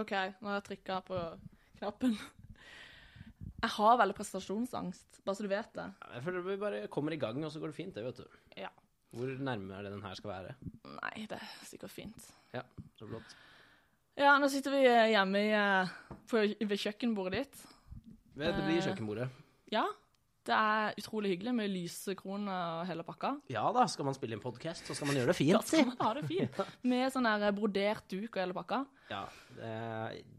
OK, nå har jeg trykka på knappen. Jeg har veldig prestasjonsangst, bare så du vet det. Jeg føler vi bare kommer i gang, og så går det fint, det, vet du. Ja. Hvor nærme er det den her skal være? Nei, det er sikkert fint. Ja, så flott. Ja, nå sitter vi hjemme i, eh, på, ved kjøkkenbordet ditt. Det det blir Eh. kjøkkenbordet. Ja, det er utrolig hyggelig med lysekroner og hele pakka. Ja da, skal man spille inn podkast, så skal man gjøre det Da fint, si. skal man ha det fint. Med sånn der brodert duk og hele pakka. Ja, det,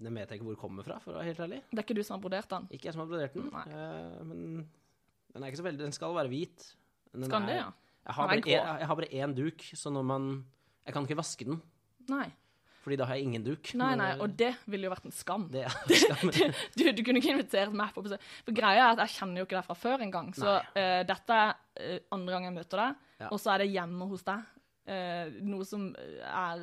det vet jeg ikke hvor det kommer fra, for å være helt ærlig. Det er ikke du som har brodert den. Ikke jeg som har brodert den, Nei. eh, men den er ikke så veldig Den skal være hvit. Men Den Skal er- den det, ja? Jeg har, Den bare er én, grå. jeg har bare én duk, så når man Jeg kan ikke vaske den, Nei. fordi da har jeg ingen duk. Nei, men- eh, nei, og det ville jo vært en skam. det, Du, du kunne ikke invitert meg på besøk. For greia er at jeg kjenner jo ikke deg fra før engang. Så eh, dette er eh, andre gang jeg møter deg, Ja. og så er det hjemme hos deg. Eh, noe som er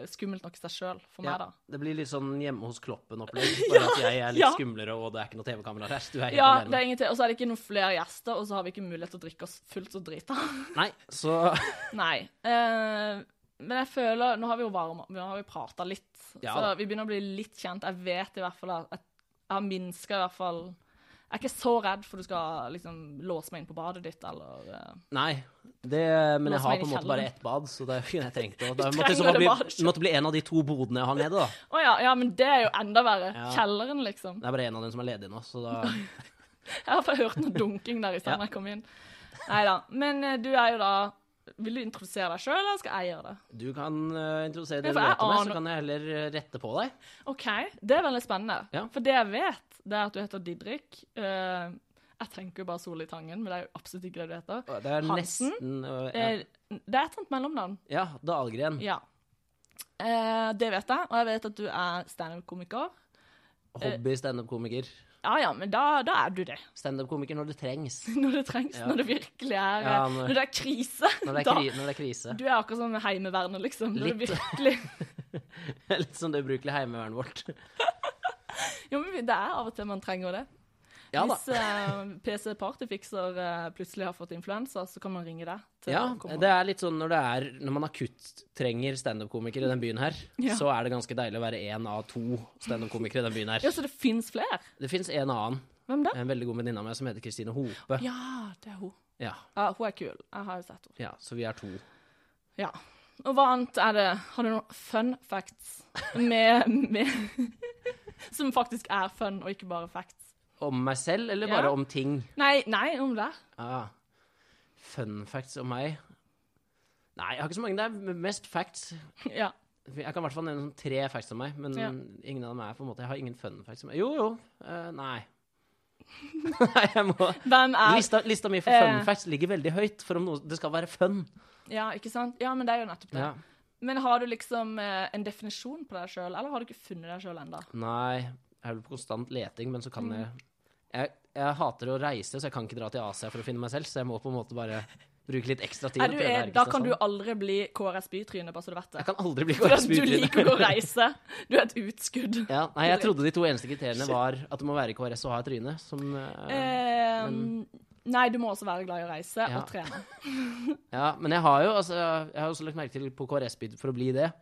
eh, skummelt nok i seg sjøl for meg, ja, da. det blir litt sånn hjemme hos Kloppen-opplegg. Bare at jeg er litt ja. skumlere, og det er ikke noe TV-kamera her. Du er helt Ja, det alene. er ingenting. Og så er det ikke noen flere gjester, og så har vi ikke mulighet til å drikke oss fullt og drita. Nei, så Nei. Eh, men jeg føler Nå har vi jo varma Nå har vi prata litt, Ja så da. vi begynner å bli litt kjent. Jeg vet i hvert fall at jeg, jeg har minska i hvert fall Jeg er ikke så redd for du skal liksom låse meg inn på badet ditt, eller eh, Nei. Det, men Nå jeg som har er på en i måte bare kjelleren. ett bad, så det kunne jeg trengt å Du Det måtte, i trenger så fall det bli, bare ikke. måtte bli en av de to bodene jeg har nede, da. Å ja, ja, men det er jo enda verre. Ja. Kjelleren, liksom. Det er bare en av dem som er ledig nå, så da Jeg har bare hørt noe dunking der i stedet Ja. da jeg kom inn. Nei da. Men eh, du er jo da Vil du introdusere deg sjøl, eller skal jeg gjøre det? Du kan eh, introdusere det Ja, du for vet jeg om meg, så aner- kan jeg heller eh, rette på deg. OK, det er veldig spennende. Ja. For det jeg vet, det er at du heter Didrik. Eh, jeg tenker jo bare Solli Tangen, men det er jo absolutt ikke det du heter. Det er Hansen? nesten øh, ja. Eh, Det er et sånt mellomnavn. ja, Dahlgren. Ja. Eh, det vet jeg, og jeg vet at du er standup-komiker. eh, Hobby standup-komiker. Ja ja, men da, da er du det. Standup-komiker når det trengs. Når det trengs, Ja. når det virkelig er Ja, eh, når- Når det er krise. Når det er, da- kri når det er krise. Du er akkurat som Heimevernet, liksom. Når Litt. det virkelig Litt som det ubrukelige heimevernet vårt. Jo, men det er av og til man trenger det. Ja da. Hvis eh, PC Partyfikser eh, plutselig har fått influensa, så kan man ringe deg. til Ja, å komme. det er litt sånn når det er Når man akutt trenger standup-komikere i den byen her, Ja. så er det ganske deilig å være én av to standup-komikere i den byen her. Ja, så det fins flere? Det fins en annen, Hvem da? en veldig god venninne av meg, som heter Kristine Hope. Ja, det er hun. Ja, Ja, hun er kul. Jeg har jo sett henne. ja, så vi er to. Ja. Og hva annet er det Har du noen fun facts med, med Som faktisk er fun, og ikke bare facts? Om meg selv, eller Ja. bare om ting? Nei, nei, om det. Ah, fun facts om meg? Nei, jeg har ikke så mange. Det er mest facts. Ja. Jeg kan i hvert fall nevne sånn tre facts om meg, men Ja. ingen av dem er på en måte Jeg har ingen fun facts om meg. Jo, jo. eh, nei. nei, jeg må Hvem er lista, lista mi for eh, fun facts ligger veldig høyt, for om noe, det skal være fun. Ja, ikke sant? Ja, men det er jo nettopp det. Ja. Men har du liksom eh, en definisjon på deg sjøl, eller har du ikke funnet deg sjøl ennå? Nei, jeg er vel på konstant leting, men så kan jeg, jeg Jeg hater å reise, så jeg kan ikke dra til Asia for å finne meg selv, så jeg må på en måte bare bruke litt ekstra tid. Er og du, prøve å er, være da kan du Kristiansand. aldri bli KRS Bytryne, bare så du vet Jeg det. kan aldri bli For at du KrS-bytryne. liker å reise. Du er et utskudd. Ja, nei, jeg trodde de to eneste kriteriene var at det må være KrS og ha et tryne. Som, eh, Eh, nei, du må også være glad i å reise Ja. og trene. ja, men jeg har jo altså, jeg har også lagt merke til på KrS-byd for å bli det.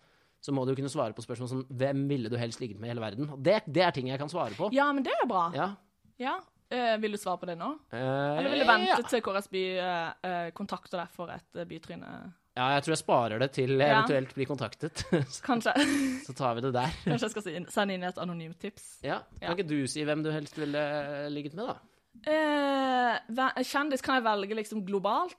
Så må du jo kunne svare på spørsmål som Hvem ville du helst ligget med i hele verden? Og det, det er ting jeg kan svare på. Ja, men det er bra. Ja. Ja. Eh, vil du svare på det nå? Eh, Eller vil du ja. vente til KRS By eh, eh, kontakter deg for et eh, bytryne? Ja, jeg tror jeg sparer det til jeg Ja. eventuelt blir kontaktet. Så- Kanskje, Så tar vi det der. kanskje jeg skal si- sende inn et anonymt tips. Ja, Kan Ja. ikke du si hvem du helst ville ligget med, da? Eh, hva- kjendis kan jeg velge liksom globalt.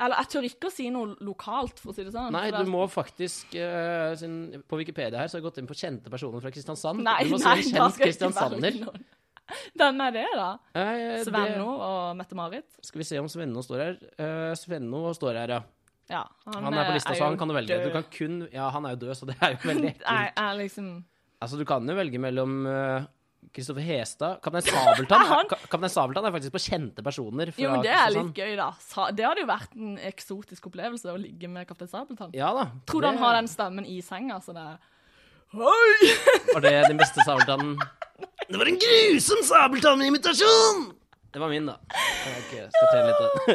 Eller jeg tør ikke å si noe lokalt, for å si det sånn. Nei, for det du må faktisk eh, siden På Wikipedia her så har jeg gått inn på kjente personer fra Kristiansand. Nei, du må nei, si da en kjent skal jeg ikke kristiansander. velge noen. Hvem er det, da? Eh, det- Svenno og Mette-Marit? Skal vi se om Svenno står her. Eh, Svenno står her, ja. Ja, eh, Han er på lista, så han kan du velge. Du død. kan kun Ja, han er jo død, så det er jo veldig Jeg ekkelt. er liksom Altså, du kan jo velge mellom eh, Kristoffer Hestad Kaptein Sabeltann Er han- Ka- Kaptein Sabeltann er faktisk på kjente personer fra Jo, men det er litt Kristiansand. gøy, da. Sa- Det hadde jo vært en eksotisk opplevelse å ligge med Kaptein Sabeltann. Ja da. Tror du han har den stemmen i senga, så det er Hei! Var det den beste Sabeltannen? Det var en grusom Sabeltann-imitasjon! Det var min, da. Jeg vet ikke, skal trene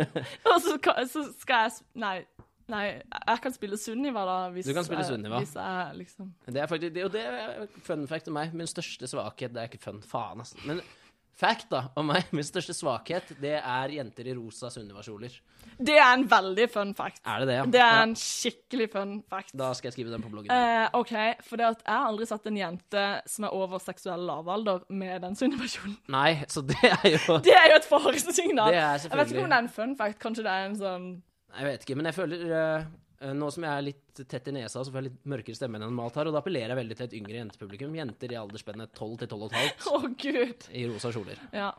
litt. Og så, ka- så skal jeg s- Nei. Nei, jeg kan spille Sunniva, da. Hvis Du kan spille jeg- Sunniva. Hvis jeg liksom Det er faktisk, det, og det er fun fact om meg. Min største svakhet Det er ikke fun, faen, ass. Men fact, da, om meg. Min største svakhet, det er jenter i rosa Sunniva-kjoler. Det er en veldig fun fact. Er det det, ja? Det er Ja. en skikkelig fun fact. Da skal jeg skrive den på bloggen. Eh, OK, for det at jeg har aldri sett en jente som er over seksuell lavalder med den Sunniva-kjolen. Nei, så det er jo Det er jo et faresignal. Det er Jeg vet ikke selvfølgelig- om det er en fun fact. Kanskje det er en sånn Jeg vet ikke, men jeg føler eh, Nå som jeg er litt tett i nesa, så får jeg litt mørkere stemme enn jeg normalt har, og da appellerer jeg veldig til et yngre jentepublikum. Jenter i aldersspennet 12 til 12,5 Å, gud. i rosa kjoler. Ja.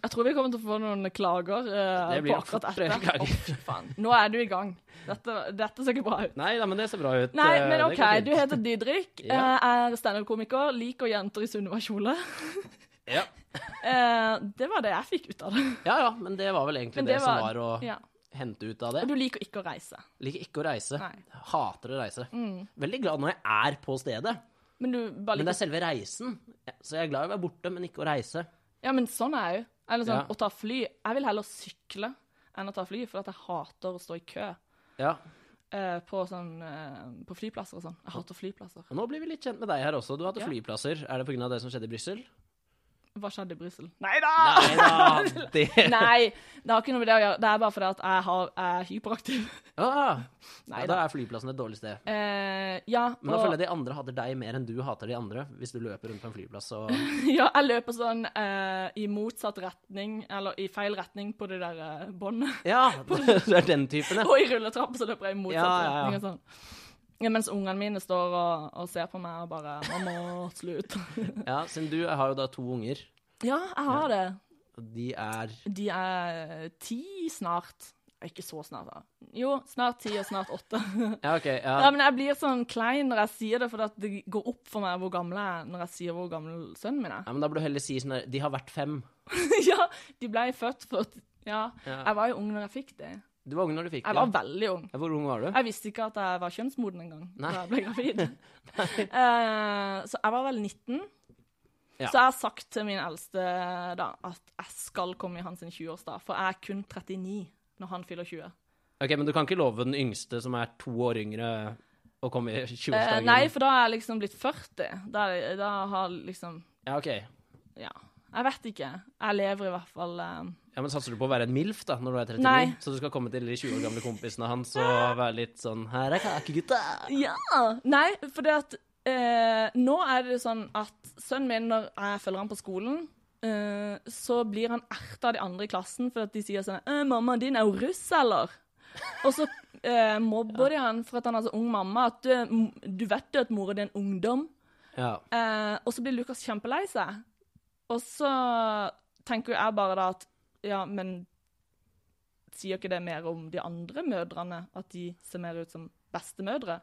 Jeg tror vi kommer til å få noen klager eh, Det blir på nok akkurat flere dette. klager. Å, fy faen. Nå er du i gang. Dette, dette ser ikke bra ut. Nei da, men det ser bra ut. Nei, Eh, men det OK. går fint. Du heter Didrik, Ja. eh, er standup-komiker, liker jenter i Sunniva-kjole. ja. Eh, det var det jeg fikk ut av det. ja ja, men det var vel egentlig Men det, det som var- var å Ja. hente ut av det. Og du liker ikke å reise. Liker ikke å reise. Nei. Hater å reise. Veldig glad når jeg er på stedet, Men du bare men det liker er selve reisen. Så jeg er glad i å være borte, men ikke å reise. Ja, men sånn er jeg jo. Eller sånn, Ja. å ta fly. Jeg vil heller sykle enn å ta fly, for at jeg hater å stå i kø Ja, eh, på, sånn, eh, på flyplasser og sånn. Jeg hater flyplasser. og Nå blir vi litt kjent med deg her også. Du hadde Ja. flyplasser. Er det pga. det som skjedde i Brussel? Hva skjedde i Brussel? Nei da! Nei da! Det Nei, det har ikke noe med det å gjøre. Det er bare fordi at jeg, har, jeg er hyperaktiv. Ah, Nei ja, da. da er flyplassen et dårlig sted. Eh, ja, Men da og, føler jeg de andre hater deg mer enn du hater de andre, hvis du løper rundt på en flyplass og ja, jeg løper sånn eh, i motsatt retning, eller i feil retning på det der eh, båndet. Ja, du er den typen, ja. Og i rulletrappa så løper jeg i motsatt Ja, ja, ja. retning. og sånn. Ja, mens ungene mine står og, og ser på meg og bare 'Mamma, slutt'. ja. Siden du har jo da to unger, Ja, jeg har det. og de er De er ti snart. Ikke så snart, da. Jo, snart ti og snart åtte. Ja, OK. Ja, Ja. men jeg blir sånn klein når jeg sier det, for at det går opp for meg hvor gammel jeg er når jeg sier hvor gammel sønnen min er. ja men da burde du heller si sånn der De har vært fem. ja, de ble født for ja. Ja. Jeg var jo ung når jeg fikk det. Du var ung når du fikk Jeg det. var veldig ung. Ja, Hvor ung var du? Jeg visste ikke at jeg var kjønnsmoden engang Nei. da jeg ble gravid. Eh, så jeg var vel 19. Ja. Så jeg har sagt til min eldste da at jeg skal komme i hans 20-årsdag, for jeg er kun 39 når han fyller 20. Ok, Men du kan ikke love den yngste, som er to år yngre, å komme i Eh, 20-årsdagen? nei, for da er jeg liksom blitt 40. Da, er- da har liksom Ja, ok. Ja. Jeg vet ikke. Jeg lever i hvert fall eh, Ja, men Satser du på å være en MILF da, når du er 39? Nei. Så du skal komme til de 20 år gamle kompisene hans og være litt sånn Her er kakegutta! Ja! Nei, for det at eh, Nå er det sånn at sønnen min, når jeg følger han på skolen, eh, så blir han erta av de andre i klassen fordi at de sier sånn «Eh, 'Mammaen din er jo russ, eller?' Og så eh, mobber de han for at han er så ung mamma. At eh, m- du vet jo at mora di er en ungdom. Ja. Eh, og så blir Lukas kjempelei seg. Og så tenker jo jeg bare da at ja, men sier ikke det mer om de andre mødrene, at de ser mer ut som bestemødre?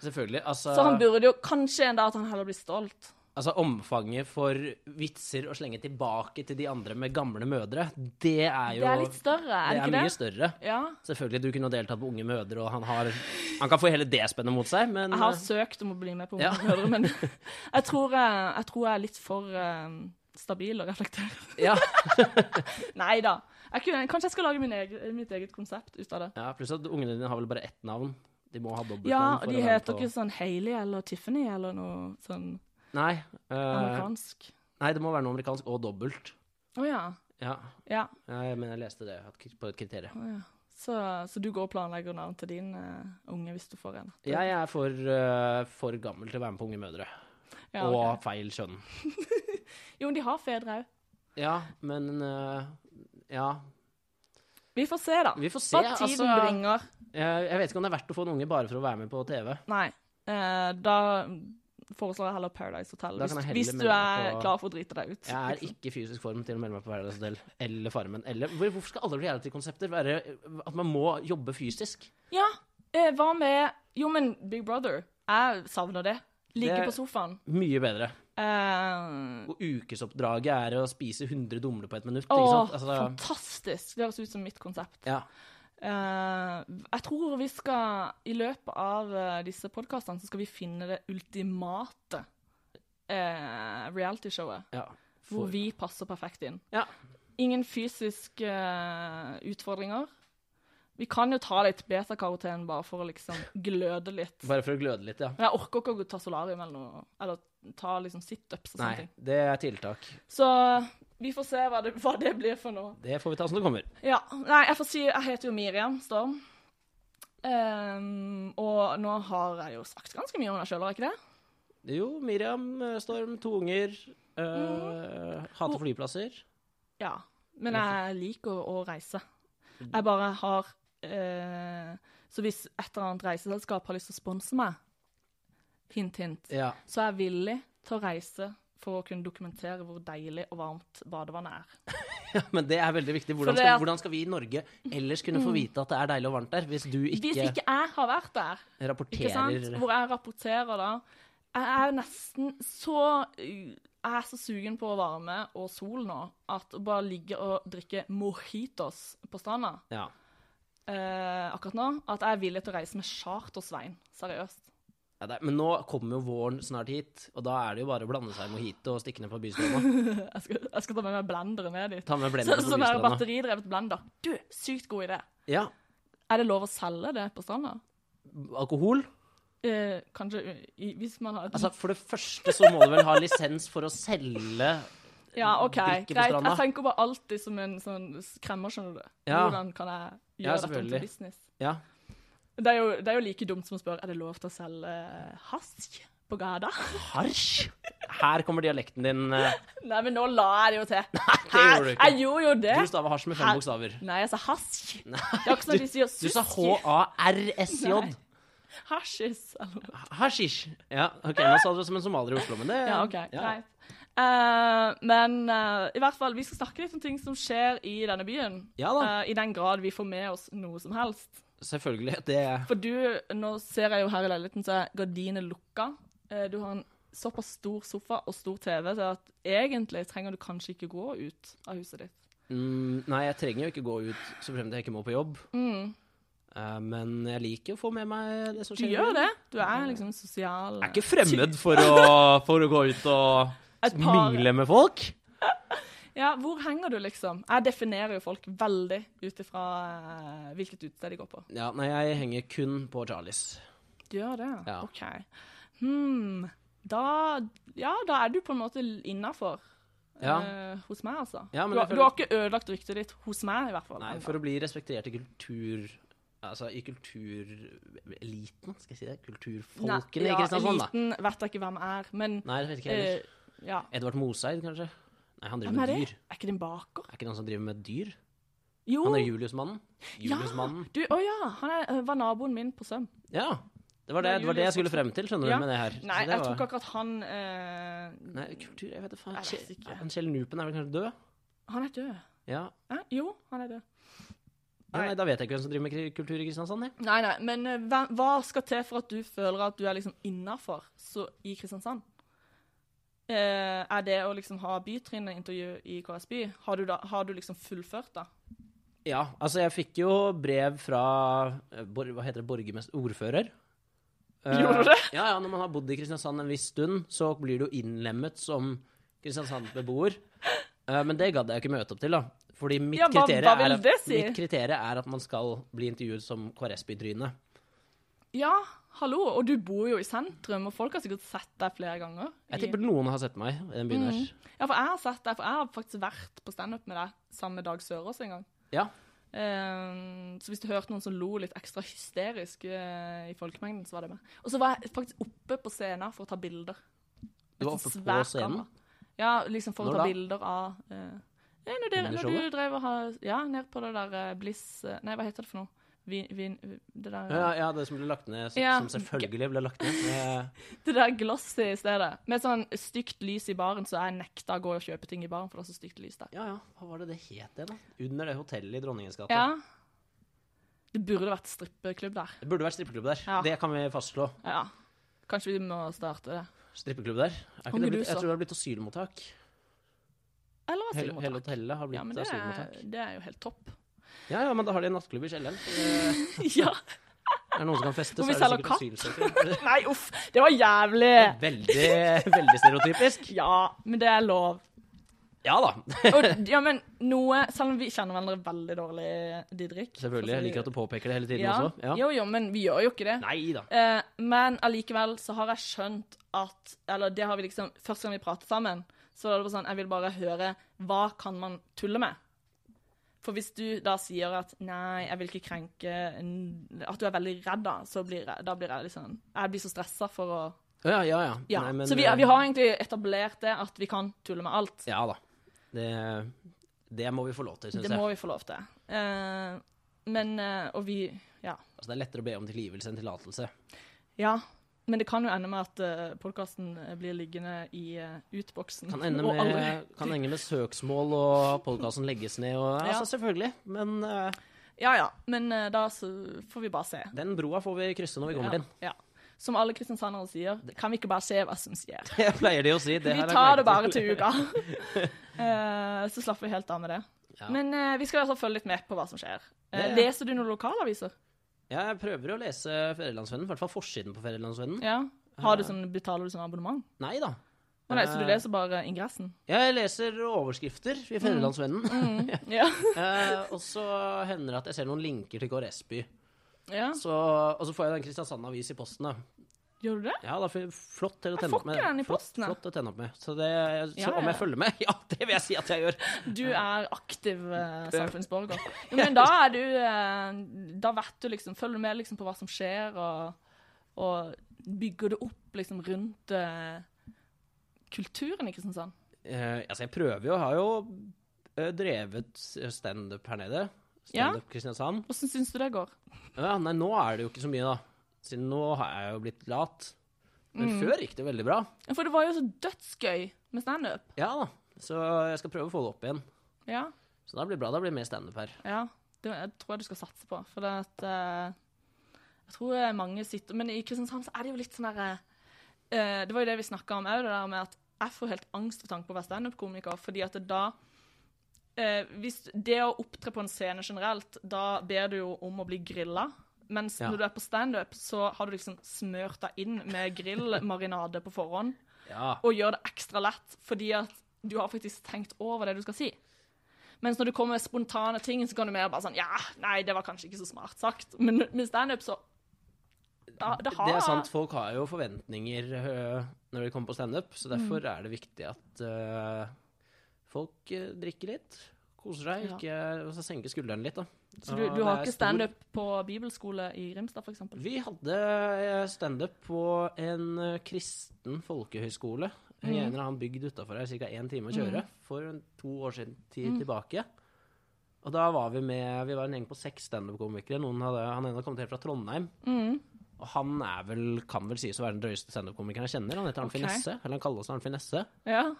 Selvfølgelig. Altså, Så han burde jo kanskje en dag at han heller blir stolt. altså omfanget for vitser å slenge tilbake til de andre med gamle mødre, det er jo Det er litt større, er det det er ikke mye Mm. det? større. Ja. Selvfølgelig, du kunne ha deltatt på Unge mødre, og han har Han kan få hele det spennet mot seg, men eh, Jeg har søkt om å bli med på Ja. Mødre, men jeg tror jeg, jeg tror jeg er litt for eh, stabil og reflektert. ja. Nei da. Jeg kunne, kanskje jeg skal lage min egen, mitt eget konsept ut av det. ja, pluss at ungene dine har vel bare ett navn. De må ha dobbeltnavn. Ja, og for å de være med heter på- ikke sånn Hailey eller Tiffany eller noe sånn Nei, eh, Amerikansk. nei, det må være noe amerikansk og dobbelt. Å ja. Ja, ja. jeg, men jeg leste det at- på et kriterium. Å, ja. Så, så du går og planlegger navn til din eh, unge hvis du får en? Jeg er for, eh, for gammel til å være med på Unge mødre. Ja, Og ok. feil kjønn. Jo, men de har fedre òg. Ja, men eh, Ja. Vi får se, da. Vi får se. Hva tiden Altså, bringer. jeg, jeg vet ikke om det er verdt å få en unge bare for å være med på TV. Nei. eh, da foreslår jeg heller Paradise Hotel, Da hvis, kan jeg heller hvis du melde meg er på- klar for å drite deg ut. Jeg er ikke i fysisk form til å melde meg på Paradise Hotel eller Farmen. Eller, hvor- hvorfor skal alle reality-konsepter være at man må jobbe fysisk? Ja, eh, hva med Jo, men Big Brother. Jeg savner det. Ligge Det- på sofaen. Mye bedre. Eh, Og ukesoppdraget er å spise 100 dumle på ett minutt. å, Ikke sant? Altså, fantastisk! Det høres ut som mitt konsept. ja. Eh, jeg tror vi skal, i løpet av eh, disse podkastene, så skal vi finne det ultimate eh, realityshowet. ja. Hvor For- vi passer perfekt inn. Ja. Ingen fysiske eh, utfordringer. Vi kan jo ta litt beta-karoten bare for å liksom gløde litt. Bare for å gløde litt, ja. Men Jeg orker ikke å ta solarium eller noe, eller ta liksom situps og sånne Nei, ting. det er tiltak. Så vi får se hva det, hva det blir for noe. Det får vi ta som det kommer. Ja, nei, jeg får si Jeg heter jo Miriam Storm. Ehm, og nå har jeg jo sagt ganske mye om meg sjøl, har jeg ikke det? Jo, Miriam, eh, Storm, to unger. eh, Mm. Hater flyplasser. Ja. Men jeg liker å, å reise. Jeg bare har eh, Så hvis et eller annet reiseselskap har lyst til å sponse meg, hint, hint, Ja. så er jeg villig til å reise for å kunne dokumentere hvor deilig og varmt badevannet er. ja, men det er veldig viktig. For Hvordan det skal, at- Mm. hvordan skal vi i Norge ellers kunne få vite at det er deilig og varmt der, hvis du ikke, Hvis ikke jeg har vært der, ikke sant? rapporterer hvor jeg rapporterer da Jeg er nesten så Jeg er så sugen på varme og sol nå at å bare ligge og drikke mojitos på stranda ja. eh, akkurat nå, at jeg er villig til å reise med charter-Svein. Seriøst. Ja, det, er- men nå kommer jo våren snart hit, og da er det jo bare å blande seg i mojito og stikke ned på bystranda. Jeg skal, jeg skal ta med meg blenderen ned dit. Ta med Så, blenderen på sånn der bystranda. batteridrevet blender. Du, sykt god idé. Ja. Er det lov å selge det på stranda? Alkohol? Eh, kanskje i, hvis man har et Altså, for det første så må du vel ha lisens for å selge Ja, OK, drikke på greit. stranda. Jeg tenker bare alltid som en sånn kremmer, skjønner du. Ja. Hvordan kan jeg Ja, gjøre dette om selvfølgelig. til business? Ja. Det er, jo, det er jo like dumt som å spørre er det lov til å selge hasj på gata. Harsj? Her kommer dialekten din. eh. Nei, men nå la jeg det jo til. gjorde du ikke. Jeg gjorde jo det. Du staver hasj med fem Her- bokstaver. Nei, jeg sa hasj. Det er ikke sånn at de sier Du sa susj. Nei. H-A-R-S-J. Hasjis. eller noe. Hasjish. Ja, ok, nå sa du det som en somalier i Oslo, men det Ja, OK. ja. Greit. Eh, men eh, i hvert fall, vi skal snakke litt om ting som skjer i denne byen. Ja da. Eh, I den grad vi får med oss noe som helst. Selvfølgelig. Det For du, nå ser jeg jo her i leiligheten, så er gardinene lukka. Eh, Du har en såpass stor sofa og stor TV, så at egentlig trenger du kanskje ikke gå ut av huset ditt. mm, Nei, jeg trenger jo ikke gå ut så fremt jeg ikke må på jobb. Mm. Eh, men jeg liker å få med meg det som Du skjer. gjør det. Du er liksom en sosial Jeg er ikke fremmed for å, for å gå ut og Et par- mingle med folk. Ja, hvor henger du, liksom? Jeg definerer jo folk veldig ut ifra eh, hvilket utested de går på. Ja, nei, jeg henger kun på Charlies. Du gjør det? Ja. OK. Hmm. Da Ja, da er du på en måte innafor. Ja. hos meg, altså. Ja, men du, har, jeg føler- du har ikke ødelagt ryktet ditt hos meg, i hvert fall. Nei, for å bli respektert i kultur... Altså i kultureliten, skal jeg si det? Kulturfolkene i Kristiansand, da. Eliten vet jeg ikke hvem er, men Nei, det vet ikke jeg heller. eh, ja. Edvard Moseid, kanskje? Nei, han driver Hvem er med det? dyr. Er ikke det en baker? Er ikke det han som driver med dyr? Jo! Han er Juliusmannen. Juliusmannen. Du, å ja! Han er, øh, var naboen min på Søm. Ja. Det var det, det, var det jeg skulle frem til, skjønner du, Ja. med det her. Så Nei, det jeg var... tror ikke akkurat han eh, Nei, kultur, jeg vet da faen. Jeg vet Kjell- ikke. Han Kjell Nupen er vel kanskje død? Han er død. Ja. Hæ? Jo, han er død. ja. Nei. Nei, da vet jeg ikke hvem som driver med kri- kultur i Kristiansand, jeg. Nei, nei, men eh, hva, hva skal til for at du føler at du er liksom innafor i Kristiansand? Eh, er det å liksom ha bytrinnet-intervju i KS By? Har du, da, har du liksom fullført, da? Ja, altså jeg fikk jo brev fra eh, bor, Hva heter det? Borgermester? Ordfører? Eh, Gjorde du det? Ja, ja, når man har bodd i Kristiansand en viss stund, så blir du innlemmet som Kristiansand-beboer. Eh, men det gadd jeg ikke møte opp til, da. Fordi mitt, Ja, hva- hva kriterium vil er, det si? mitt kriterium er at man skal bli intervjuet som KrS-bytryne. Ja, hallo, og du bor jo i sentrum, og folk har sikkert sett deg flere ganger. Jeg i- tipper noen har sett meg i den byen her. Ja, for jeg har sett deg, for jeg har faktisk vært på standup med deg sammen med Dag Sørås en gang. Ja. Eh, så hvis du hørte noen som lo litt ekstra hysterisk eh, i folkemengden, så var det meg. Og så var jeg faktisk oppe på scenen for å ta bilder. Du Et var oppe på svært scenen? kamera. Ja, liksom for å Når ta da? bilder av eh, Nei, når, dere, Under når du showet? drev og har Ja, ned på det der eh, Bliss eh, Nei, hva heter det for noe? Vin, vin, det der Ja, ja, det som ble lagt ned, som, Ja. som selvfølgelig ble lagt ned. Eh, Det der glossy i stedet. Med sånn stygt lys i baren, så jeg nekta å gå og kjøpe ting i baren, for det er så stygt lys der. ja, ja, hva var det det het igjen, da? Under det hotellet i Dronningens gate. Ja. Det burde vært strippeklubb der. Det burde vært strippeklubb der. Ja. Det kan vi fastslå. Ja. Kanskje vi må starte det. Strippeklubb der. Er ikke Om det du blitt, så. jeg tror det har blitt asylmottak. Eller Hele, hele asylmottak. hotellet har blitt Ja, men det er, asylmottak. det er jo helt topp. Ja, ja, men da har de en nattklubb i kjelleren. Eh, ja. Er det noen som kan feste, Hvor vi så er det selger sikkert asylsøkere. Nei, uff. Det var jævlig. Veldig, veldig stereotypisk. Ja, men det er lov. Ja da, Og, ja, men noe, selv om vi kjenner hverandre veldig dårlig, Didrik. selvfølgelig. Jeg liker at du påpeker det hele tiden ja. også. Ja. Jo, jo, men vi gjør jo ikke det. Nei da. Eh, men allikevel så har jeg skjønt at Eller det har vi liksom Første gang vi pratet sammen, så var det bare sånn Jeg vil bare høre Hva kan man tulle med? For hvis du da sier at nei, jeg vil ikke krenke en- At du er veldig redd, da, så blir jeg, da blir jeg liksom Jeg blir så stressa for å Å, Ja, ja, ja. Ja. Nei, men, så vi, eh, vi har egentlig etablert det at vi kan tulle med alt. Ja da. Det, det må vi få lov til, syns det jeg. må vi få lov til. Eh, men eh, Og vi Ja. Altså, det er lettere å be om tilgivelse enn tillatelse. Ja, men det kan jo ende med at uh, podkasten blir liggende i eh, utboksen. Kan ende og med, aldri- kan ende med søksmål, og podkasten legges ned og Ja. Altså, selvfølgelig. Men eh, Ja ja, men eh, da så får vi bare se. den broa får vi krysse når vi Ja, kommer til den. ja. Som alle kristiansandere sier, kan vi ikke bare se hva som skjer? Jeg pleier de å si. Det Vi har jeg tar det lagt merke bare til uka. Eh, så slapper vi helt av med det. Ja. Men eh, vi skal i hvert fall følge litt med på hva som skjer. Eh, Ja, ja. Leser du noen lokalaviser? Jeg prøver å lese Fedrelandsvennen, i hvert fall forsiden på Fedrelandsvennen. Ja. Har du sånn, betaler du sånn abonnement? Nei da. Å nei, så du Mm. Eh, leser bare ingressen? Jeg leser overskrifter i Fedrelandsvennen. Ja. Eh, og så hender det at jeg ser noen linker til KRS-by. ja. Så, og så får jeg den Kristiansand Avis i posten, da. Gjør du det? Ja, da får jeg flott til å Jeg tenne får opp med. ikke den i Flott- posten, jeg. Flott, å tenne opp med. Så, det, så Ja, om jeg ja. følger med? Ja, det vil jeg si at jeg gjør. Du er aktiv eh, samfunnsborger. Jo, men da er du eh, Da vet du liksom Følger du med liksom på hva som skjer, og, og bygger det opp liksom rundt eh, kulturen i Kristiansand? Eh, altså, jeg prøver jo. Jeg har jo eh, drevet standup her nede. Ja. Standup Kristiansand. Hvordan syns du det går? Ja, nei, nå er det jo ikke så mye, da. Siden nå har jeg jo blitt lat. Men Mm. før gikk det veldig bra. For det var jo så dødsgøy med standup. Ja da. Så jeg skal prøve å få det opp igjen. Ja. Så da blir det bra. Da blir det mer standup her. ja. Det jeg tror jeg du skal satse på. For det at eh, Jeg tror eh, mange sitter Men i Kristiansand så er det jo litt sånn derre eh, Det var jo det vi snakka om òg, det der med at jeg får helt angst ved tanken på å være standup-komiker, fordi at det da eh, hvis Det å opptre på en scene generelt, da ber du jo om å bli grilla. Mens Ja. når du er på standup, så har du liksom smørt deg inn med grillmarinade på forhånd. Ja. og gjør det ekstra lett, fordi at du har faktisk tenkt over det du skal si. Mens når du kommer med spontane ting, så kan du mer bare sånn Ja, nei, det var kanskje ikke så smart sagt. Men med standup, så da, det, har, Det er sant. Folk har jo forventninger øh, når de kommer på standup, så derfor Mm. er det viktig at øh, folk øh, drikker litt, koser seg, Ja. ikke, og så senker skuldrene litt, da. Så du, Og du det har er ikke stor- standup på bibelskole i Grimstad, f.eks.? Vi hadde øh, standup på en øh, kristen folkehøyskole i en eller annen bygd utafor her, ca. én time å kjøre, for en- to år siden tid tilbake. Og da var vi med Vi var en gjeng på seks standup-komikere. Noen hadde, han ene hadde kommet helt fra Trondheim. Og han er vel, kan vel sies å være den drøyeste standup-komikeren jeg kjenner. Han heter Arnfinn Ok. Nesse. Eller han kalles Arnfinn Nesse. Ja.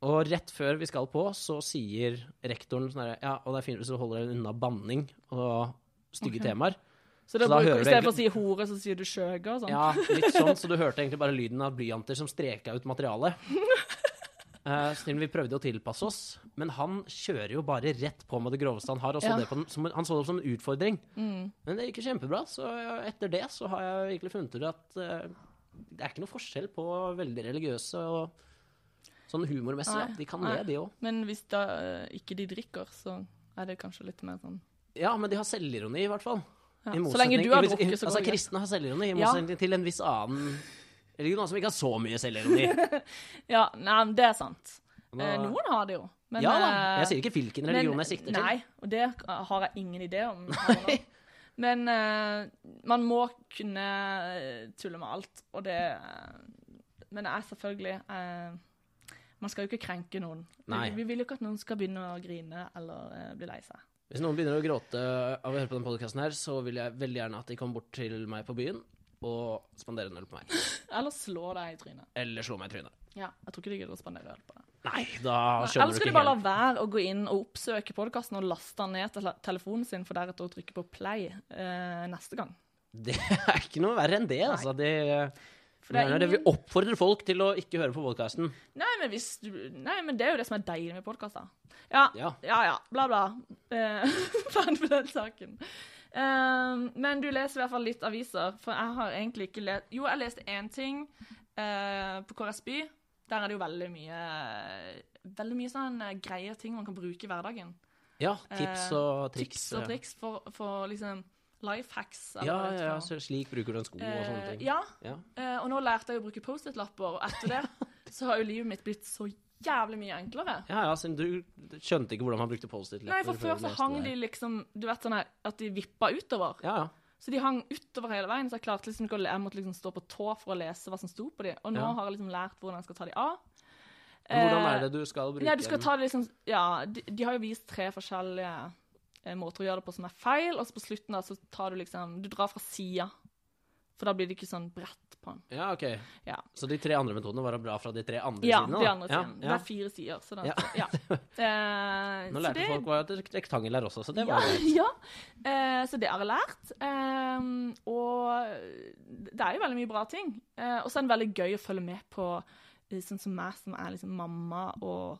Og rett før vi skal på, så sier rektoren sånn herre Ja, og det er fint hvis du holder deg unna banning og stygge temaer. Så, da da bruker hører du du istedenfor å si hore, så sier du skjøge og sånn? Ja, litt sånn, så du hørte egentlig bare lyden av blyanter som streka ut materialet. Eh, så vi prøvde å tilpasse oss, men han kjører jo bare rett på med det groveste han har. Og så Ja. Mm. det på den, som, han så det som en utfordring. Men det gikk jo kjempebra, så etter det så har jeg egentlig funnet ut at eh, det er ikke noe forskjell på veldig religiøse og sånn humormessig. Nei, da. De kan nei. det, de òg. Men hvis da eh, ikke de drikker, så er det kanskje litt mer sånn Ja, men de har selvironi, i hvert fall. ja. I Så lenge motsetning- du har i- i- drukket, så går Altså, det greit. kristne har selvironi, Ja. i motsetning til en viss annen religion altså, som ikke har så mye selvironi. Ja, nei, men det er sant. Da- Eh, Noen har det jo. Men ja da. eh, Jeg sier ikke hvilken religion jeg sikter til. nei, og det har jeg ingen idé om. her og nå. Men eh, man må kunne eh, tulle med alt, og det eh, Men det er selvfølgelig eh, Man skal jo ikke krenke noen. Nei. Vi, vi vil jo ikke at noen skal begynne å grine eller eh, bli lei seg. Hvis noen begynner å gråte av å høre på denne podkasten her, så vil jeg veldig gjerne at de kommer bort til meg på byen og spanderer en øl på meg. Eller slå deg i trynet. Eller slår meg i trynet. Ja, Jeg tror ikke de gidder å spandere øl på deg. Nei, da Eller skjønner du skal de ikke bare la helt. være å gå inn og oppsøke podkasten og laste den ned til tele- telefonen sin, for deretter å trykke på play eh, neste gang? Det er ikke noe verre enn det, altså. Det, For det er Nei, nei, det- ingen- Vi oppfordrer folk til å ikke høre på podkasten. Nei men, hvis du, nei, men det er jo det som er deilig med podkaster. Ja, Ja. ja, ja, bla, bla. Eh, Ferdig med den saken. Eh, men du leser i hvert fall litt aviser, for jeg har egentlig ikke lest Jo, jeg leste én ting eh, på KRS By. Der er det jo veldig mye Veldig mye sånn eh, greie ting man kan bruke i hverdagen. Ja, tips Eh, og triks. Tips og triks for, for liksom life hacks. Ja, ja, ja, så slik bruker du en sko og sånne ting. Eh, ja, Ja. eh, og nå lærte jeg å bruke Post-It-lapper, og etter det så har jo livet mitt blitt så jævlig mye enklere. Ja, ja, siden du skjønte ikke hvordan man brukte Nei, Post-It-lepper. for før så hang de liksom Du vet sånn her at de vippa utover. Ja, ja. Så de hang utover hele veien, så jeg klarte liksom ikke å le- Jeg måtte liksom stå på tå for å lese hva som sto på de. Og nå Ja. har jeg liksom lært hvordan jeg skal ta de av. Men hvordan er det du skal bruke Eh, Nei, du skal dem? ta det liksom Ja, de, de har jo vist tre forskjellige eh, måter å gjøre det på som er feil, og så på slutten da så tar du liksom Du drar fra sida. For da blir det ikke sånn bredt på den. Ja, ok. Ja. Så de tre andre metodene var å bla fra de tre andre Ja, sidene? da? de andre sidene. Det Ja, er fire sider, så da Ja. ja. Eh, Nå så lærte det- folk hva et rektangel er også, så det ja, var jo ja. Eh, så det har jeg lært. Eh, og det er jo veldig mye bra ting. Eh, og så er det veldig gøy å følge med på eh, sånn som meg, som er liksom mamma og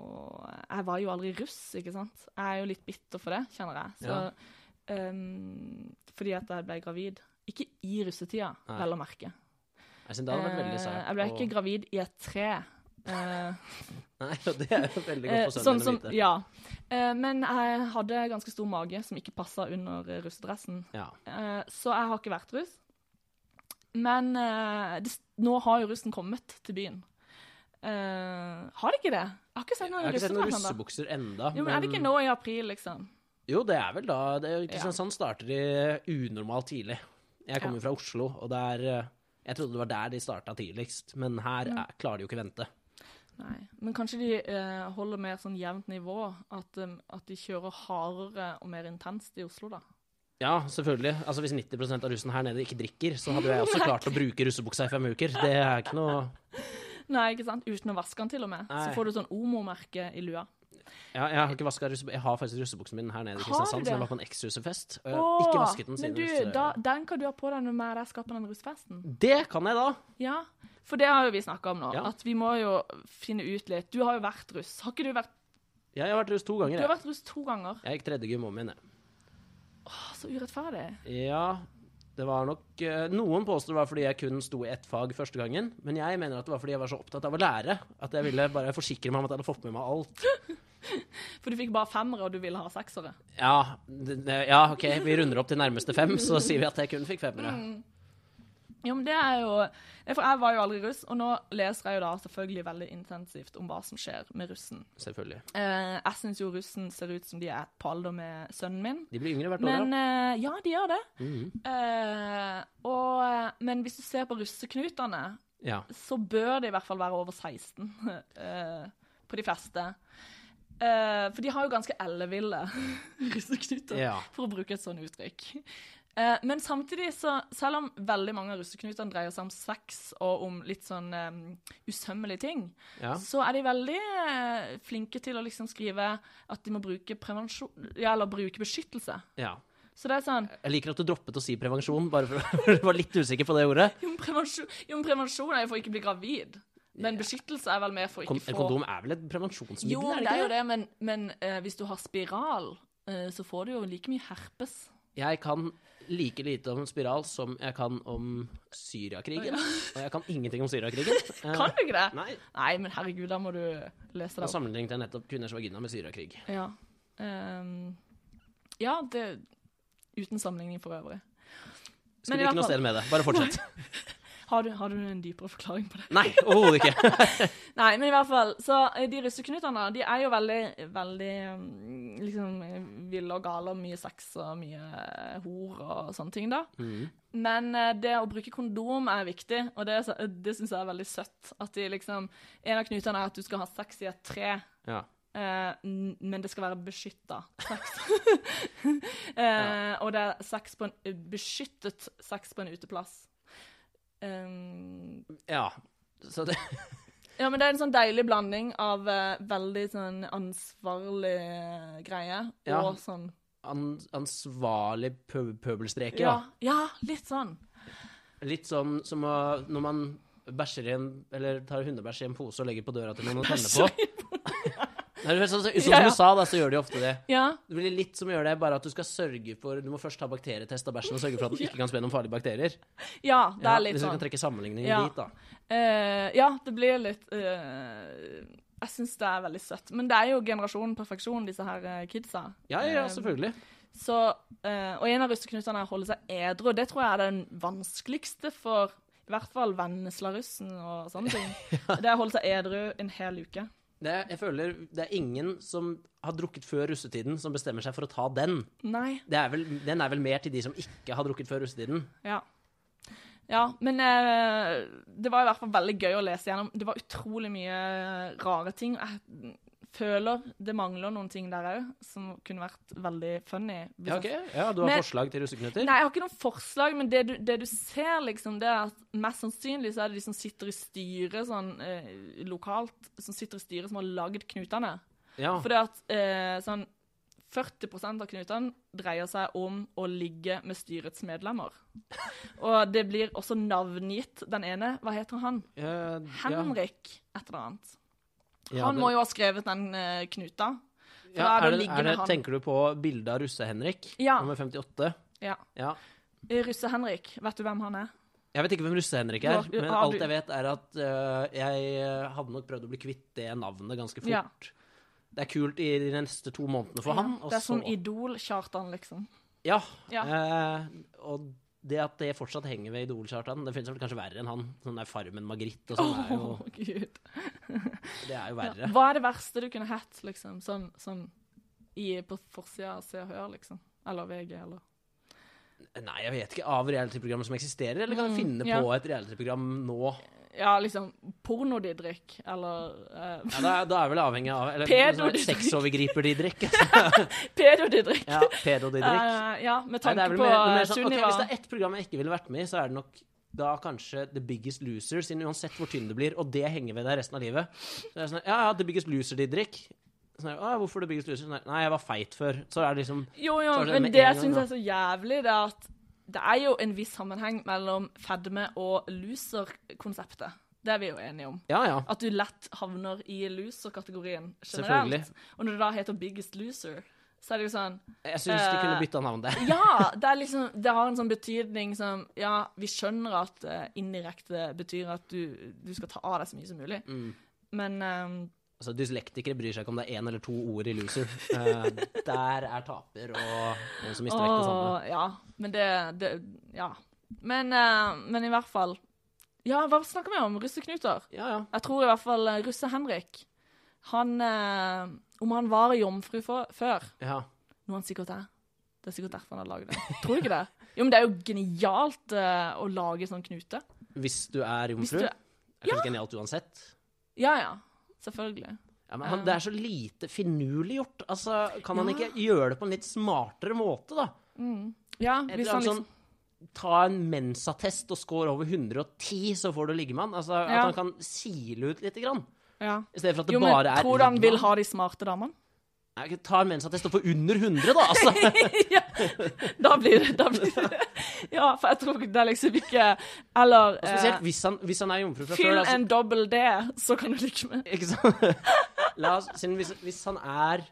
og jeg var jo aldri russ, ikke sant? Jeg er jo litt bitter for det, kjenner jeg. Så, Ja. ehm, fordi at jeg ble gravid. Ikke i russetida, Nei. vel å merke. Jeg synes det hadde vært veldig Eh, sært. jeg ble å- ikke gravid i et tre. Eh, Nei, og det er jo veldig Eh, godt for sånn sønnen din som, å vite. ja. Eh, men jeg hadde ganske stor mage som ikke passa under eh, russedressen. Ja. Eh, så jeg har ikke vært russ. Men eh, det, s- nå har jo russen kommet til byen. Eh, har de ikke det? Jeg har ikke sett Jeg noen har ikke sett noen russedress ennå. russebukser enda. Jo, men er det ikke nå i april, liksom? Jo, det er vel da det, er jo Ja. Kristiansand starter i unormalt tidlig. Jeg kommer jo fra Oslo, og det er eh, Jeg trodde det var der de starta tidligst, men her Mm. er, klarer de jo ikke vente. Nei. Men kanskje de eh, holder mer sånn jevnt nivå? At, eh, at de kjører hardere og mer intenst i Oslo, da? Ja, selvfølgelig. Altså Hvis 90 av russen her nede ikke drikker, så hadde jo jeg også klart å bruke russebuksa i fem uker. Det er ikke noe Nei, ikke sant? Uten å vaske den, til og med. Nei. Så får du sånn Omo-merke i lua. Ja, jeg har ikke vasket russebuksa Jeg har faktisk russebuksen min her nede Har du i Kristiansand, det? som jeg var på en ekstrahusefest. Og jeg har ikke Åh, vasket den siden. Men du, russe- da, den kan du ha på deg når vi er der skal på den russefesten. Det kan jeg da! Ja, for det har jo vi snakka om nå. Ja. At vi må jo finne ut litt. Du har jo vært russ. Har ikke du vært Jeg har vært russ to Du ganger. har Jeg, vært russ to ganger. jeg gikk tredje gym om igjen, jeg. Åh, så urettferdig. Ja, det var nok eh, Noen påstår det var fordi jeg kun sto i ett fag første gangen, men jeg mener at det var fordi jeg var så opptatt av å lære at jeg ville bare forsikre meg om at jeg hadde fått med meg alt. For du fikk bare femmere, og du ville ha seksere. Ja, det, det- ja OK, vi runder opp til nærmeste fem, så sier vi at jeg kun fikk femmere. Jo, Mm. men det er jo Nei, For jeg var jo aldri russ, og nå leser jeg jo da selvfølgelig veldig intensivt om hva som skjer med russen. Selvfølgelig. Eh, jeg syns jo russen ser ut som de er på alder med sønnen min. De blir yngre hvert år, Men ja. Mm. eh, ja, de gjør det. Eh, og, men hvis du ser på russeknutene, ja. så bør det i hvert fall være over 16 eh, på de fleste. Eh, for de har jo ganske elleville russeknuter, Ja. for å bruke et sånt uttrykk. Eh, men samtidig, så, selv om veldig mange av russeknutene dreier seg om sex og om litt sånn eh, usømmelige ting, ja. så er de veldig eh, flinke til å liksom skrive at de må bruke prevensjon Ja, eller bruke beskyttelse. Ja. Så det er sånn Jeg liker at du droppet å si prevensjon, bare for du var litt usikker på det ordet. Jo, men prevensjon, jo, men prevensjon er jo for å ikke bli gravid. Men beskyttelse er vel mer for å Kon ikke få kondom er vel et prevensjonsmiddel, Jo, er det det er jo ikke det? det, men, men eh, hvis du har spiral, eh, så får du jo like mye herpes. Jeg kan like lite om spiral som jeg kan om Syriakrigen. Og jeg kan ingenting om Syriakrigen. Eh, Kan du ikke det? Nei. Nei, men herregud, da må du lese Da det opp. sammenlignet jeg nettopp kvinners vagina med syrakrig. Ja. Ehm, ja, det Uten sammenligning for øvrig. Men i Skulle ikke hvert noe fall- sted med det. Bare fortsett. Har du, har du en dypere forklaring på det? Nei, overhodet ikke. Nei, men i hvert fall, så eh, de russeknutene, de er jo veldig, veldig mm, liksom eh, ville og gale og mye sex og mye eh, hor og sånne ting da. Men eh, det å bruke kondom er viktig, og det, er så- det synes jeg er veldig søtt. At de liksom, en av knutene er at du skal ha sex i et tre, Ja. eh, n- men det skal være beskyttet sex. eh, Og det er sex på en, beskyttet sex på en uteplass. Um, ja. Så det, ja, men det er en sånn deilig blanding av eh, veldig sånn ansvarlig eh, greie Ja. og sånn an, ansvarlig pø pøbelstreke, ja, da. ja, litt sånn. Litt sånn som å, når man bæsjer i en Eller tar hundebæsj i en pose og legger på døra til noen og tenner på. Det er jo sånn, sånn, Ja, som ja. du sa, da, så gjør de ofte det. Ja. Det blir litt som gjør det, bare at du skal sørge for Du må først ta bakterietest av bæsjen og sørge for at den ikke kan spre noen farlige bakterier. ja, det Ja, er litt hvis du sånn. kan trekke sammenligninger Ja. dit, da. Eh, ja, det blir litt eh, Jeg syns det er veldig søtt. Men det er jo generasjon perfeksjon, disse her eh, kidsa. Ja, ja, ja, Eh, selvfølgelig. Så, eh, og en av russeknutene er å holde seg edru. Det tror jeg er den vanskeligste for i hvert fall Vennesla-russen og sånne ting. Det er å holde seg edru en hel uke. Det, er- jeg føler det er ingen som har drukket før russetiden, som bestemmer seg for å ta den. Nei. Det er vel, den er vel mer til de som ikke har drukket før russetiden. Ja. Ja, men eh, det var i hvert fall veldig gøy å lese gjennom. Det var utrolig mye eh, rare ting. Jeg føler det mangler noen ting der òg, som kunne vært veldig funny. hvis Ja, jeg ok. ja Du har Men- forslag til russeknuter? Nei, jeg har ikke noen forslag, men det du, det du ser, liksom, det er at mest sannsynlig så er det de som sitter i styret sånn eh, lokalt, som sitter i styret som har lagd knutene. Ja. For det at eh, sånn 40 av knutene dreier seg om å ligge med styrets medlemmer. Og det blir også navngitt den ene. Hva heter han? Eh, ja. Henrik, et eller annet. Ja, Han det- må jo ha skrevet den eh, knuta. For ja, da er er det å det, ligge er det, med han. Tenker du på bildet av Russe-Henrik? Ja. Nummer 58? Ja. Ja. Russe-Henrik, vet du hvem han er? Jeg vet ikke hvem Russe-Henrik Du er, har- men har alt du- jeg vet, er at øh, jeg øh, hadde nok prøvd å bli kvitt det navnet ganske fort. Ja. Det er kult i de neste to månedene for ham. Ja, Og det er så, sånn Idol-Kjartan, liksom. ja, Ja. eh, og det at det fortsatt henger ved Idol-Kjartan, det finnes vel kanskje verre enn han. Sånn der Farmen Margrit og sånn, er jo, Åh, Gud. det er jo verre. Hva er det verste du kunne hett, liksom? Sånn, sånn i, på forsida av Se og Hør, liksom? Eller VG, eller Nei, jeg vet ikke. Av realityprogrammet som eksisterer, eller kan jeg Mm, finne ja. på et realityprogram nå? Ja, liksom pornodidrik, eller eh, Ja, da, da er vel avhengig av Eller Pedo- sånn sexovergriper de drikker. pedodidrik. Ja, pedo de drikker. Eh, ja, med Nei, det tanke er vel på mer- mer eh, sånn, ok, Sunniva. hvis det er ett program jeg ikke ville vært med i, så er det nok da kanskje The Biggest Loser, siden uansett hvor tynn du blir, og det henger ved deg resten av livet. Så det er sånn, ja, ja, The Biggest Loser, Didrik. Sånn, «Å, hvorfor The Biggest Loser? Sånn, Nei, jeg var feit før. Så er det liksom Jo, jo, så er det men med det en jeg gang, syns da. er så jævlig, det er at det er jo en viss sammenheng mellom fedme og loser-konseptet. Det er vi jo enige om. Ja, ja. At du lett havner i loser-kategorien Selvfølgelig. generelt. Og når det da heter Biggest Loser, så er det jo sånn Jeg syns de Eh, kunne bytta navn der. Ja, det, er liksom, det har en sånn betydning som Ja, vi skjønner at eh, indirekte betyr at du, du skal ta av deg så mye som mulig, men eh, Altså, Dyslektikere bryr seg ikke om det er én eller to ord i Loser. Eh, der er taper og noen som mister vekt det samme. Åh, ja. Men det, det Ja. Men, eh, men i hvert fall Ja, hva snakker vi om? Russeknuter? Ja, ja. Jeg tror i hvert fall eh, russe-Henrik Han eh, Om han var jomfru for, før, ja. noe han sikkert er Det er sikkert derfor han har laget det. Tror du ikke det? Jo, men det er jo genialt eh, å lage sånn knute. Hvis du er Hvis jomfru. du Det er kanskje genialt uansett. Ja, ja. Selvfølgelig. Ja, men han, Det er så lite finurlig gjort. Altså, Kan han Ja. ikke gjøre det på en litt smartere måte, da? Ja, hvis han Et eller annet liksom sånn, ta en mensattest og score over 110, så får du ligge med han. Altså, At Ja. han kan sile ut lite grann. ja. I stedet for at det Jo, men bare er tror du han ligge vil med ha de smarte damene? Nei, ok, Ta en mensattest og få under 100, da! Altså. ja, da blir det, da blir det. Ja, for jeg tror det er liksom ikke Eller Og eh, Spesielt hvis han, hvis han er jomfru fra Fyll før. Altså, en dobbel D, så kan du ligge med. ikke sant? La oss, siden hvis, hvis han er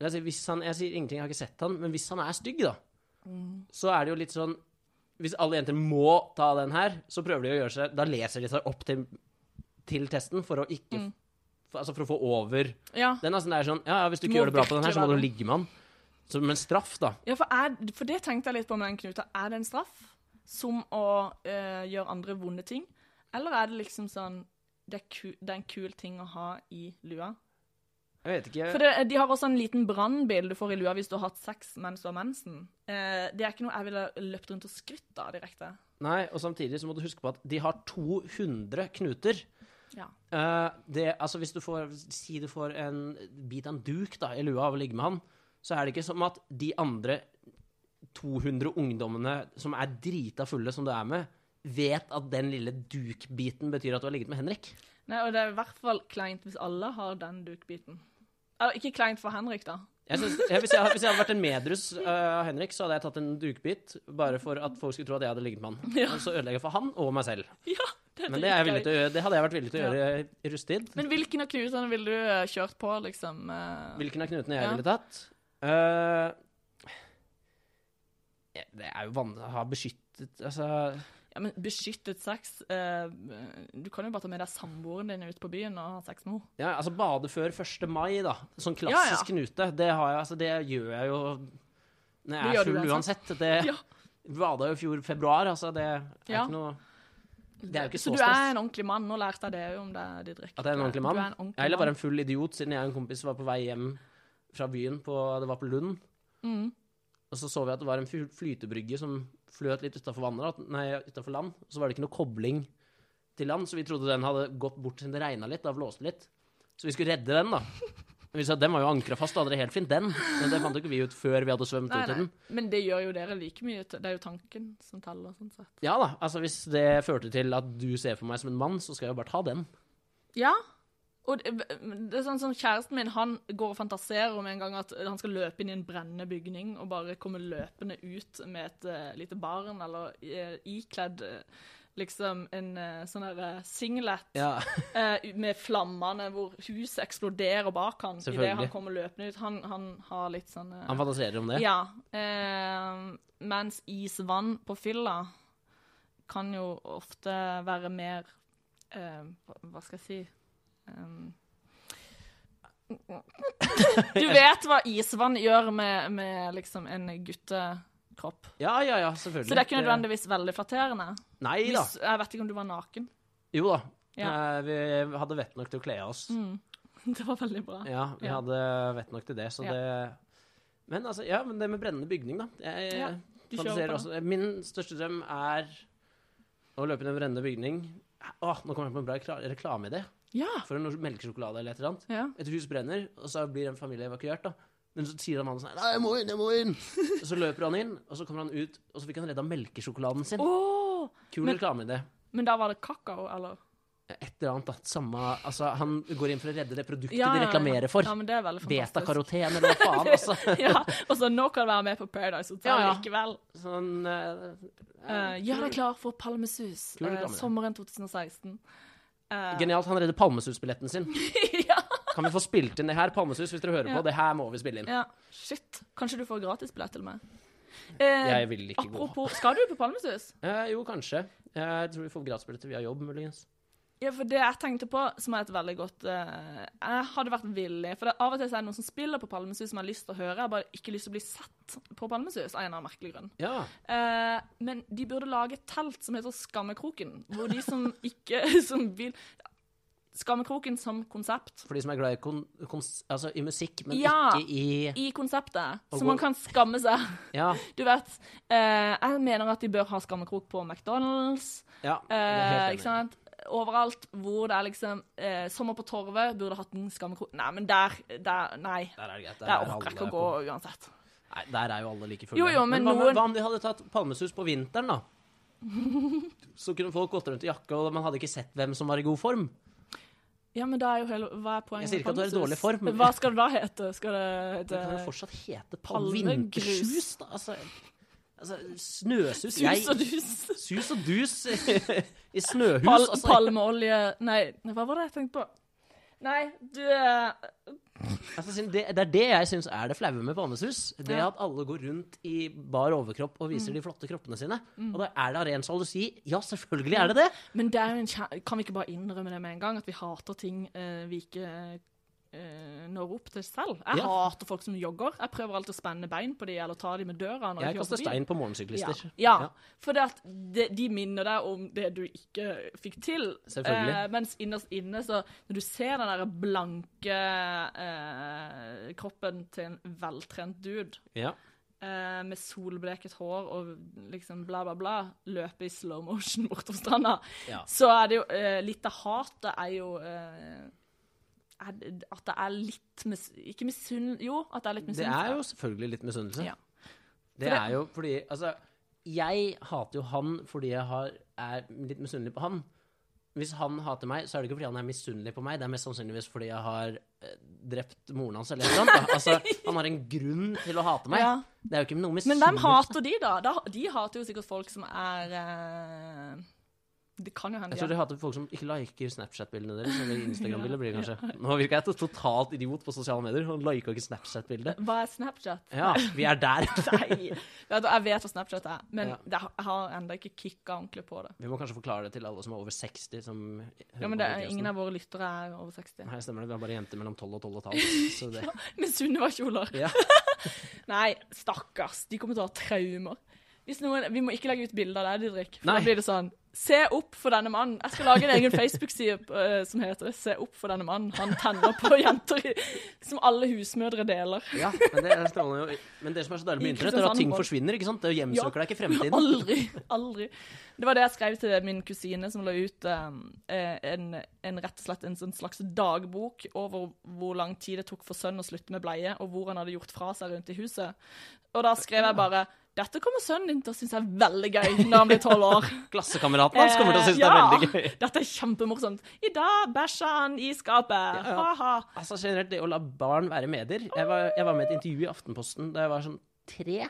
la oss si, hvis han, Jeg sier ingenting, jeg har ikke sett han, men hvis han er stygg, da, så er det jo litt sånn Hvis alle jenter må ta den her, så prøver de å gjøre seg Da leser de seg opp til, til testen for å ikke for, Altså for å få over Ja. den. Altså, det er sånn Ja, ja, hvis du Du ikke må gjør det bra på den her, så må virkelig du være- ligge med han. Som en straff, da. ja, for, er, for det tenkte jeg litt på med den knuta. Er det en straff som å eh, gjøre andre vonde ting? Eller er det liksom sånn det er, ku, det er en kul ting å ha i lua? Jeg vet ikke. For det, De har også en liten brannbil du får i lua hvis du har hatt sex mens du har mensen. Eh, det er ikke noe jeg ville løpt rundt og skrytt av direkte. Nei, og samtidig så må du huske på at de har 200 knuter. Ja. Eh, det, altså hvis du får, si du får en bit av en duk da, i lua av å ligge med han, så er det ikke som at de andre 200 ungdommene som er drita fulle som du er med, vet at den lille dukbiten betyr at du har ligget med Henrik. Nei, og det er i hvert fall kleint hvis alle har den dukbiten. Eller ikke kleint for Henrik, da. Jeg synes, jeg, hvis, jeg, hadde- hvis jeg hadde vært en medrus eh, av Henrik, så hadde jeg tatt en dukbit bare for at folk skulle tro at jeg hadde ligget med han. Ja. Og så ødelegge for han og meg selv. Ja. Men det, er jeg villig til å gjøre, det hadde jeg vært villig til å Ja. gjøre i rusttid. Men hvilken av knutene ville du eh, kjørt på, liksom? eh? Hvilken av knutene jeg Ja. ville tatt? Eh, ja, det er jo vanlig å ha beskyttet Altså Ja, men beskyttet sex eh, Du kan jo bare ta med deg samboeren din ut på byen og ha sex med henne. ja, altså bade før 1. mai, da. Sånn Ja, klassisk knute. Det, har jeg, altså, det gjør jeg jo når jeg Det gjør er du full uansett. Det Ja. bada jo i fjor februar, altså. Det er Ja. ikke noe Det er jo ikke Så så du er stress. en ordentlig mann. Nå lærte jeg det jo om deg, Didrik. At jeg er en ordentlig mann? Du er en ordentlig Jeg er heller bare en full idiot, siden jeg og en kompis var på vei hjem fra byen på Det var på Lund. Mm. Og så så vi at det var en fly- flytebrygge som fløt litt utafor land. Og så var det ikke noe kobling til land, så vi trodde den hadde gått bort siden det regna litt. Da blåste det litt. Så vi skulle redde den, da. Men vi sa at den var jo ankra fast, da hadde det helt fint, den. Men det fant jo ikke vi ut før vi hadde svømt Nei, ut i nei. den. Men det gjør jo dere like mye. Det er jo tanken som teller, sånn sett. Ja da, altså hvis det førte til at du ser på meg som en mann, så skal jeg jo bare ta den. Ja. Og det, det er sånn som Kjæresten min han går og fantaserer om en gang at han skal løpe inn i en brennende bygning og bare komme løpende ut med et eh, lite barn, eller eh, ikledd eh, liksom en eh, sånn der eh, singlet Ja. eh, med flammene hvor huset eksploderer bak han idet Selvfølgelig. han kommer løpende ut. Han, han har litt sånn eh, Han fantaserer om det. Ja. Eh, mens isvann på fylla kan jo ofte være mer eh, hva- Hva skal jeg si um, Du vet hva isvann gjør med, med liksom en guttekropp. Ja, ja, ja, selvfølgelig. Så det er ikke nødvendigvis veldig flatterende. Nei eh, da. Hvis, jeg vet ikke om du var naken. Jo da. Ja. Eh, Vi hadde vett nok til å kle av oss. Mm. Det var veldig bra. Ja, vi Ja. hadde vett nok til det, så Ja. det Men altså, ja, men det med brennende bygning, da. Jeg, eh, Ja, du kjører fantaserer på også. Min største drøm er å løpe inn i en brennende bygning. Åh, nå kommer jeg på en bra rekla- reklameidé Ja. for en melkesjokolade eller et eller annet. ja. Et hus brenner, og så blir en familie evakuert, da. Men så sier han mannen sånn Nei, jeg må inn, jeg må inn! Og så løper han inn, og så kommer han ut, og så fikk han redda melkesjokoladen sin. Åh! Kul men- reklameidé. Men da var det kakao, eller? Et eller annet, da. Samme Altså, han går inn for å redde det produktet Ja, ja, de ja. reklamerer for. Ja, men det er veldig fantastisk. Beta-karoten, eller hva faen, altså. ja, og så nå kan du være med på Paradise Hotel Ja, ja. likevel. Sånn eh, Eh, gjør deg klar for Palmesus, Kul eh, reklame, det. sommeren 2016. Eh, Genialt. Han redder Palmesus-billetten sin. ja, Kan vi få spilt inn det her, Palmesus, hvis dere hører Ja. på? Det her må vi spille inn. ja. Shit. Kanskje du får gratisbillett til meg. Eh, Jeg vil ikke gå. apropos, skal du på Palmesus? Eh, jo, kanskje. Jeg tror vi får gratisbilletter via jobb, muligens. Ja, for det jeg tenkte på, som er et veldig godt eh, Jeg hadde vært villig. For det, av og til så er det noen som spiller på Palmesus som jeg har lyst til å høre. Jeg har bare ikke lyst til å bli sett på Palmesus av en eller annen merkelig grunn. Ja. Eh, men de burde lage et telt som heter Skammekroken, hvor de som ikke som vil Skammekroken som konsept. For de som er glad i, kon kons altså, i musikk, men Ja. ikke i I konseptet. Og Så hvor- man kan skamme seg. Ja. Du vet, eh, jeg mener at de bør ha skammekrok på McDonald's. ja jeg er Eh, helt ikke enig. sant? Overalt hvor det er liksom eh, Sommer på Torvet burde hatt en skammekrok. Nei, men der, der Nei. Der er det greit. Der er orker jeg ikke å gå alle på- uansett. Nei, der er jo alle like fulle. Jo, jo, men hva, noen- hva om de hadde tatt Palmesus på vinteren, da? Så kunne folk gått rundt i jakke, og man hadde ikke sett hvem som var i god form. Ja, men da er jo hele Hva er poenget? Jeg sier ikke med at du er i dårlig Palmesus? form. Hva skal det da hete? Skal det Det kan jo hete fortsatt hete Eh, Palmegrus. palmegrus, da. Altså, altså snøsus Sus og jeg, dus? Sus og dus i snøhus. Pal altså. Palmeolje Nei, nei, hva var det jeg tenkte på? Nei, du eh, Altså, siden det, det er det jeg syns er det flaue med palmesus. Det Ja. Mm. at alle går rundt i bar overkropp og viser de flotte kroppene sine. Og da er det av ren sjalusi. Ja, selvfølgelig Mm. er det det! Men det er jo en kjær... Kan vi ikke bare innrømme det med en gang? At vi hater ting eh, vi ikke eh, når opp til selv? Jeg Ja. hater folk som jogger. Jeg prøver alltid å spenne bein på dem eller ta dem med døra. når Jeg kjører kaster forbi. stein på morgensyklister. Ja, ja. for det at de, de minner deg om det du ikke fikk til. Eh, Selvfølgelig. mens innerst inne, så når du ser den der blanke eh, kroppen til en veltrent dude Ja. eh, med solbleket hår og liksom bla, bla, bla, løpe i slow motion bortover stranda, Ja. så er det jo eh, Litt av hatet er jo eh, er, det- at det er litt mis, Ikke misunnelse Jo, at det er litt Det er misunnelse. jo selvfølgelig litt misunnelse. Ja. Det For det- er jo fordi Altså, jeg hater jo han fordi jeg har, er litt misunnelig på han. Hvis han hater meg, så er det ikke fordi han er misunnelig på meg. Det er mest sannsynligvis fordi jeg har eh, drept moren hans eller noe sånt. da. Altså, han har en grunn til å hate meg. Ja. Det er jo ikke noe Men hvem misunnelse. hater de, da? da? De hater jo sikkert folk som er eh, Det kan jo hende. Jeg tror ja. de hater folk som ikke liker Snapchat-bildene deres. Eller Instagram-bilder blir det kanskje. Nå virka jeg til totalt idiot på sosiale medier. Han liker ikke Snapchat-bildet. Hva er Snapchat? Ja, vi er der. Nei. Vet du, Jeg vet hva Snapchat er, men Ja. det- jeg har ennå ikke kicka ordentlig på det. Vi må kanskje forklare det til alle som er over 60. Som Ja, men det er, altså. Ingen av våre lyttere er over 60. Nei, stemmer det. Vi har bare jenter mellom 12 og 12 og et halvt. Så det Med Sunniva-kjoler. Ja. Nei, stakkars. De kommer til å ha traumer. Hvis noen, vi må ikke legge ut bilder av deg, Didrik. For Nei. da blir det sånn Se opp for denne mannen. Jeg skal lage en egen Facebook-side eh, som heter Se opp for denne mannen. Han tenner på jenter i, som alle husmødre deler. Ja, men det er strålende. jo. Men det som er så deilig I med internett, er at ting Kristiansand- forsvinner. ikke sant? Det hjemsøker deg ikke i fremtiden. Aldri. Aldri. Det var det jeg skrev til min kusine, som la ut eh, en, en rett og slett en sånn slags dagbok over hvor lang tid det tok for sønnen å slutte med bleie, og hvor han hadde gjort fra seg rundt i huset. Og da skrev jeg bare dette kommer sønnen din til å synes er veldig gøy når han blir tolv år. Klassekameraten hans kommer til å synes det Eh, er ja. veldig gøy. Dette er kjempemorsomt. I dag bæsja han i skapet. Ja, ja. Ha-ha. Altså generelt, det å la barn være medier jeg var, jeg var med i et intervju i Aftenposten da jeg var sånn tre.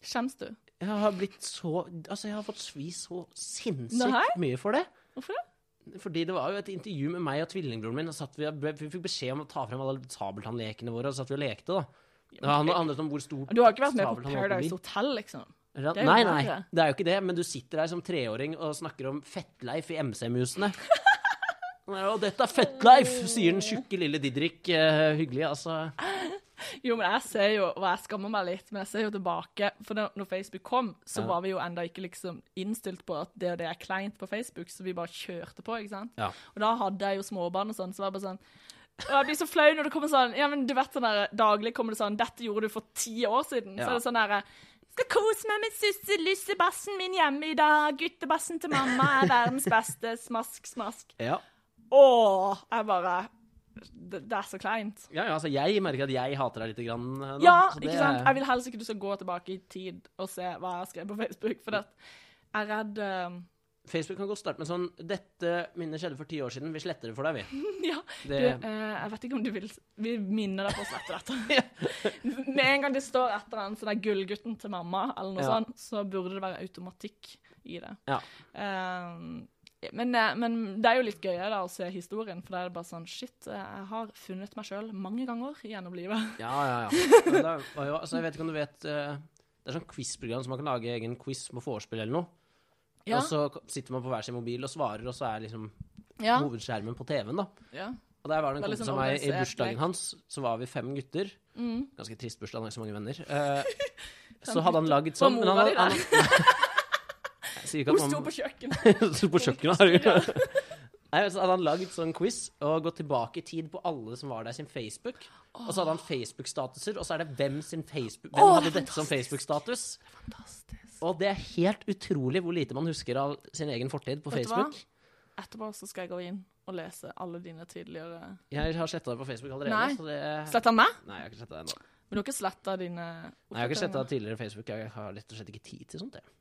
Skjems du? Jeg har blitt så Altså, jeg har fått svi så Nei? sinnssykt mye for det. Hvorfor det? Fordi det var jo et intervju med meg og tvillingbroren min, og satt vi, vi fikk beskjed om å ta frem alle sabeltannlekene våre, og satt vi og lekte, da. Det handlet handlet om hvor stort Du har ikke vært med på sabeltann var Paradise byen. Hotel, liksom? Ra- Det er jo Nei, nei, verre. det er jo ikke det, men du sitter der som treåring og snakker om Fettleif i MC-musene. Nei, Og dette er Fettleif, sier den tjukke lille Didrik. eh, hyggelig, altså. Jo, men jeg ser jo, og jeg skammer meg litt, men jeg ser jo tilbake. For da når Facebook kom, så Ja. var vi jo enda ikke liksom innstilt på at det og det er kleint på Facebook, så vi bare kjørte på, ikke sant. Ja. Og da hadde jeg jo småbarn og sånn, så var jeg bare sånn og jeg blir så flau når det kommer sånn Ja, men du vet sånn der Daglig kommer det sånn 'Dette gjorde du for ti år siden.' Så Ja. er det sånn derre 'Skal kose meg med susselussebassen min hjemme i dag.' 'Guttebassen til mamma er verdens beste.' Smask, smask. Ja. Åh, jeg bare Det, det er så kleint. Ja, ja, altså jeg merker at jeg hater deg litt grann eh, nå. Ja, så det ikke sant? er- Jeg vil helst ikke du skal gå tilbake i tid og se hva jeg skrev på Facebook, for at jeg er redd eh, Facebook kan godt starte med sånn Dette minnet skjedde for ti år siden, vi sletter det for deg, vi. Ja, du, Det- eh, jeg vet ikke om du vil Vi minner deg på å slette dette. Med en gang det står et eller annet sånn der 'Gullgutten til mamma', eller noe Ja. sånt, så burde det være automatikk i det. Ja. Eh, men, eh, men det er jo litt gøyere da, å se historien, for da er det bare sånn Shit, eh, jeg har funnet meg sjøl mange ganger gjennom livet. Ja, ja, ja. Men da, og ja, altså, jeg vet ikke om du vet eh, Det er sånn quizprogram som man kan lage egen quiz med vorspiel eller noe. Ja. Og så k- sitter man på hver sin mobil og svarer, og så er liksom Ja. hovedskjermen på TV-en, da. ja. Og der var det Det er en litt kompis sånn av meg i organisert lek. Mm. bursdagen hans. Så var vi fem gutter. Ganske trist bursdag, han har ikke så mange venner. Eh, så hadde han lagd sånn. Var men mora han, di han, der? Jeg sier ikke Hun at sto man- på kjøkkenet. Sto på kjøkkenet, har du Nei, så hadde han lagd sånn quiz og gått tilbake i tid på alle som var der sin Facebook. Og så hadde han Facebook-statuser, og så er det hvem sin Facebook Hvem Åh, det hadde er dette som fantastisk. Facebook-status? Fantastisk. Og det er helt utrolig hvor lite man husker av sin egen fortid på Vet du hva? Facebook. Etterpå så skal jeg gå inn og lese alle dine tidligere Jeg har sletta det på Facebook allerede. Nei. Så det... Sletta meg? Nei, jeg har ikke sletta det ennå. Men du har ikke sletta dine Nei, Jeg har ikke sletta tidligere Facebook. Jeg har rett og slett ikke tid til sånt. Jeg.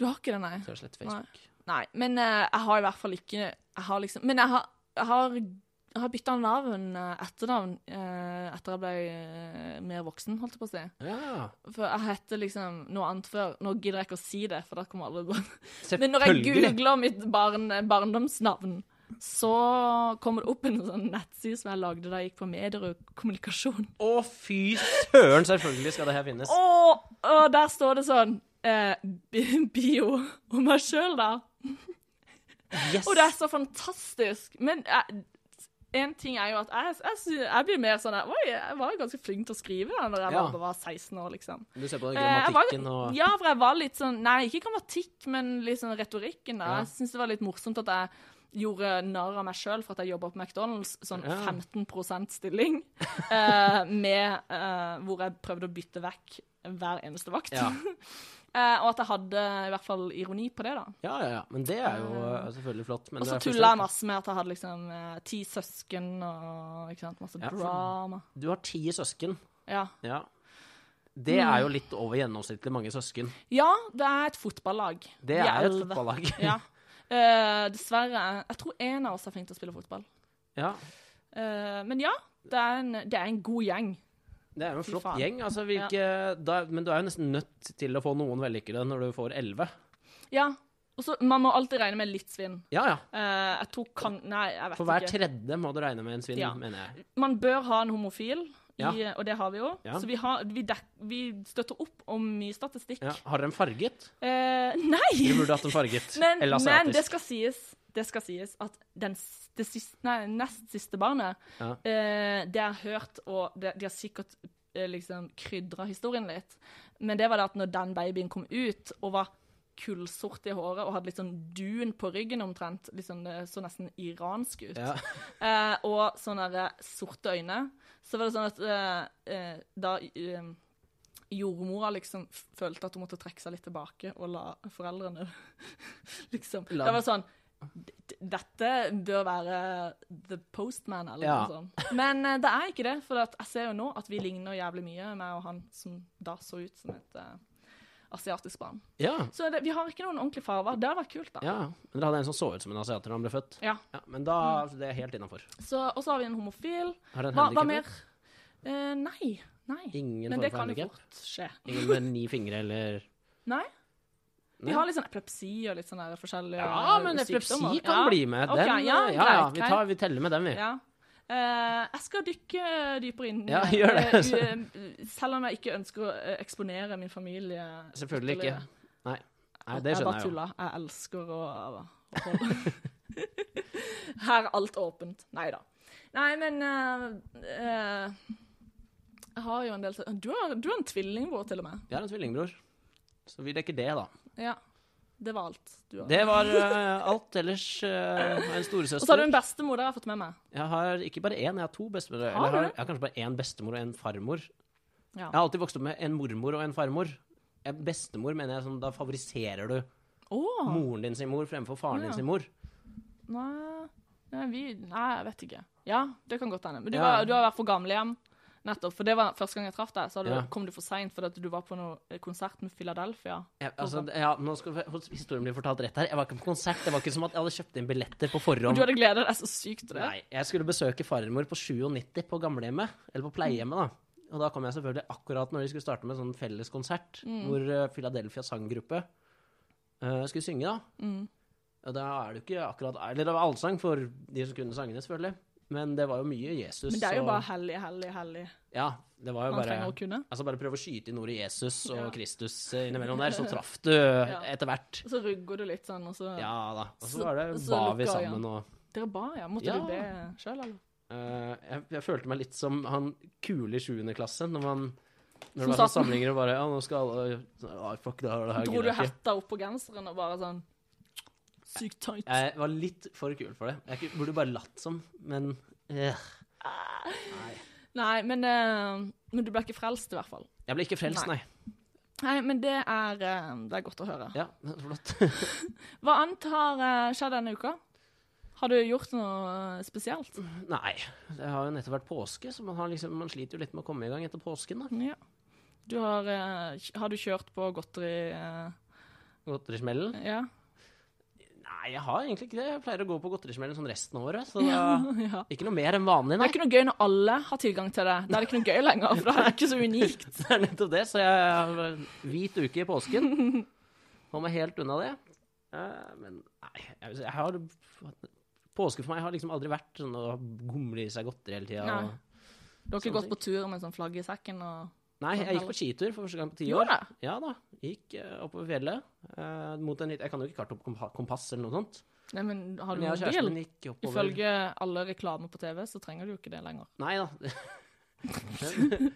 Du har ikke det, nei? Så jeg sletter Facebook. Nei, men eh, jeg har i hvert fall ikke Jeg har liksom Men jeg har, jeg har, jeg har bytta navn, eh, etternavn, eh, etter jeg ble eh, mer voksen, holdt jeg på å si. Ja, For jeg hette liksom noe annet før. Nå gidder jeg ikke å si det, for da kommer alle Men når jeg selvfølgelig. googler mitt barn, barndomsnavn, så kommer det opp en sånn nettside som jeg lagde da jeg gikk på medier og kommunikasjon. Å, fy søren, selvfølgelig skal det her finnes. Og, og der står det sånn eh, bi- bio om meg sjøl, da. Yes! Og det er så fantastisk. Men jeg, en ting er jo at jeg, jeg, sy- jeg blir mer sånn der, Oi, jeg var jo ganske flink til å skrive da når jeg Ja. var, var 16 år, liksom. Du ser på Eh, jeg var- grammatikken og Ja, for jeg var litt sånn Nei, ikke grammatikk, men litt sånn retorikken, da. Ja. Jeg syns det var litt morsomt at jeg gjorde narr av meg sjøl for at jeg jobba på McDonald's, sånn Ja. 15 stilling, eh, med eh, Hvor jeg prøvde å bytte vekk hver eneste vakt. Ja. Eh, og at jeg hadde i hvert fall ironi på det, da. Ja, ja, ja. Men det er jo eh, selvfølgelig flott. Men Og det så er tulla jeg forståelig. masse med at jeg hadde liksom eh, ti søsken og ikke sant, masse Ja, for- drama. Du har ti søsken. Ja. Ja. Det Mm. er jo litt over gjennomsnittlig mange søsken. ja, det er et fotballag. Vi Det er jo et elleve. fotballag. Ja. Eh, dessverre. Jeg tror én av oss er flink til å spille fotball. Ja. Eh, men ja, det er, en, det er en god gjeng. Det er jo en Fy flott faen. gjeng. Altså, hvilke, da, men du er jo nesten nødt til å få noen vellykkede når du får elleve. Ja, Og så, Man må alltid regne med litt svinn. Ja, ja. Eh, jeg tror kan... Nei, jeg vet For hver ikke. tredje må du regne med en svinn, Ja. mener jeg. Man bør ha en homofil, i, Ja. og det har vi jo. Ja. Så vi, har, vi, dek, vi støtter opp om mye statistikk. Ja. Har dere en farget? Eh, Du nei! burde hatt en farget. Men, Eller men det asiatisk. skal sies det skal sies at den, s- det siste, nei, nest siste barnet, Ja. eh, det har jeg hørt, og det, de har sikkert eh, liksom krydra historien litt, men det var det at når den babyen kom ut og var kullsort i håret og hadde litt sånn dun på ryggen omtrent, litt sånn, det så nesten iransk ut, Ja. eh, og sånne der sorte øyne, så var det sånn at eh, eh, da eh, jordmora liksom f- følte at hun måtte trekke seg litt tilbake og la foreldrene liksom La- Det var sånn d- d- Dette bør være the postman, eller Ja. noe sånt. Men eh, det er ikke det, for at jeg ser jo nå at vi ligner jævlig mye, meg og han som da så ut som et eh, asiatisk barn. ja. Så det, vi har ikke noen ordentlige farger. Det hadde vært kult, da. ja. Men dere hadde en som så ut som en asiater da han ble født? Ja. Ja, men da det er helt innafor. Så, og så har vi en homofil. Har dere en Hva, hva handicap? mer? Eh, nei. Nei. Ingen Men form det for kan jo handikap? fort skje. Ingen med ni fingre eller Nei. Vi Nei. har litt sånn epilepsi og litt sånn der forskjellige Ja, men epilepsi sykdommer. kan Ja. bli med. Ok, Den, eh, ja, ja, ja, greit, vi, greit. tar, vi teller med den, vi. Ja. Eh, jeg skal dykke eh, dypere inn. Ja, gjør det. altså. Eh, u- selv om jeg ikke ønsker å eh, eksponere min familie. Selvfølgelig ikke. ytterligere. Nei. Nei, Jeg det skjønner jeg jo. bare tuller. Jeg elsker å, å holde Her er alt åpent. Nei da. Nei, men eh, eh, Jeg har jo en del til- Du har, du har en tvillingbror, til og med. Jeg har en tvillingbror, så vi dekker det, da. Ja. Det var alt du har. Det var eh, alt ellers. eh, Jeg har en Og så har storesøster. du en bestemor, det har jeg fått med meg. Jeg har ikke bare én, jeg har to bestemødre. Har Eller jeg har, du? jeg har kanskje bare én bestemor og én farmor. Ja. Jeg har alltid vokst opp med en mormor og en farmor. En bestemor mener jeg sånn, da favoriserer du Åh, moren din sin mor fremfor faren Ja. din sin mor. Nei, nei, vi, nei, jeg vet ikke. Ja, det kan godt hende. Men du, Ja. var, du har vært på gamlehjem nettopp. For det var første gang jeg traff deg, så hadde du, Ja. kom du for seint fordi at du var på noe eh, konsert med Philadelphia. Jeg, altså, ja, nå skal historien bli fortalt rett her. Jeg var ikke på konsert. Det var ikke som at jeg hadde kjøpt inn billetter på Og forhånd. du hadde gleda deg så sykt til det. Nei, jeg skulle besøke farmor på 97 på gamlehjemmet, eller på pleiehjemmet, da. Og da kom jeg selvfølgelig akkurat når de skulle starte med en sånn felles konsert, Mm. hvor eh, Philadelphia sanggruppe eh, skulle synge, da. Mm. Og da er det jo ikke akkurat Eller det var allsang for de som kunne sangene, selvfølgelig. Men det var jo mye Jesus. Men det er jo og- bare hellig, hellig, hellig Ja, det var jo man bare trenger å kunne. Altså bare prøve å skyte inn ordet Jesus og Ja. Kristus eh, innimellom der, så traff du etter hvert. Og så rugger du litt sånn, og så Ja da. Og Så- så var det så ba vi lukka sammen og Dere ba, ja. Måtte Ja. du be sjøl, eller? Eh, jeg, jeg følte meg litt som han kule i 7. klasse, når man når det Som var sånne satt- samlinger og bare Ja, nå skal alle ah, Fuck, det her, det her Dro gidder du jeg ikke. hetta opp på genseren og bare sånn Sykt tight. Jeg var litt for kul for det. Jeg ku- burde bare latt som, men eh. Nei, men, eh, men du ble ikke frelst, i hvert fall. Jeg ble ikke frelst, Nei. nei. Nei, men det er, eh, det er godt å høre. Ja, det er flott. Hva annet har eh, skjedd denne uka? Har du gjort noe eh, spesielt? nei. Det har jo nettopp vært påske, så man, har liksom, man sliter jo litt med å komme i gang etter påsken, da. Ja. Du har, eh, kj- har du kjørt på godteri eh, Godterismellen. Ja. Nei, jeg har egentlig ikke det. Jeg pleier å gå på godterismellen sånn resten av året, så da ja. Ikke noe mer enn vanlig, Det nei. er ikke noe gøy når alle har tilgang til det. Da er det ikke noe gøy lenger, for da er det ikke så unikt. Det er nettopp det, så jeg har en hvit uke i påsken. Holder meg helt unna det. Eh, Men nei, jeg, jeg har Påske for meg har liksom aldri vært sånn å gomle i seg godteri hele tida. Nei. Nei. Du har ikke gått på tur med sånn flagg i sekken og jeg gikk på skitur for første gang på ti Gjorde år. det? Ja da, Gikk eh, oppover fjellet. eh, mot en litt, jeg kan jo ikke karte opp kompa- kompass eller noe sånt. Nei, men har du Men jeg og kjæresten mobil? min gikk oppover Ifølge alle reklamer på TV, så trenger du jo ikke det lenger. Nei da. Men-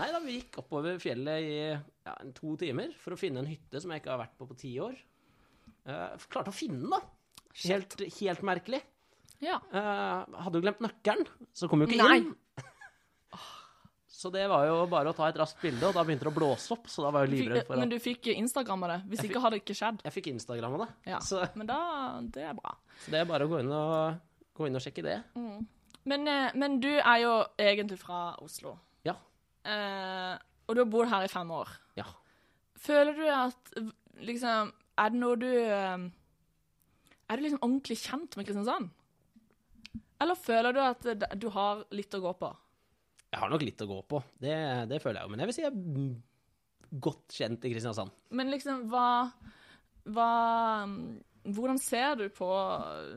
Nei da, vi gikk oppover fjellet i ja, en to timer for å finne en hytte som jeg ikke har vært på på ti år. Eh, klarte å finne den, da. Helt, helt merkelig. Ja. Eh, hadde jo glemt nøkkelen, så kom jo ikke Nei. inn. Så det var jo bare å ta et raskt bilde, og da begynte det å blåse opp. Så da var jeg Fikk, livredd for men at du fikk Instagram av det. Hvis Jeg ikke hadde det ikke skjedd. Jeg fikk Instagram av det. Ja. Så, Men da Det er bra. så det er bare å gå inn og, gå inn og sjekke det. Men, eh, men du er jo egentlig fra Oslo. Ja. Eh, og du har bodd her i fem år. Ja. Føler du at v- liksom Er det noe du eh, Er du liksom ordentlig kjent med Kristiansand? Eller føler du at det- du har litt å gå på? Jeg har nok litt å gå på, det, det føler jeg jo. Men jeg vil si jeg er mm, godt kjent i Kristiansand. Men liksom, hva Hva mm, Hvordan ser du på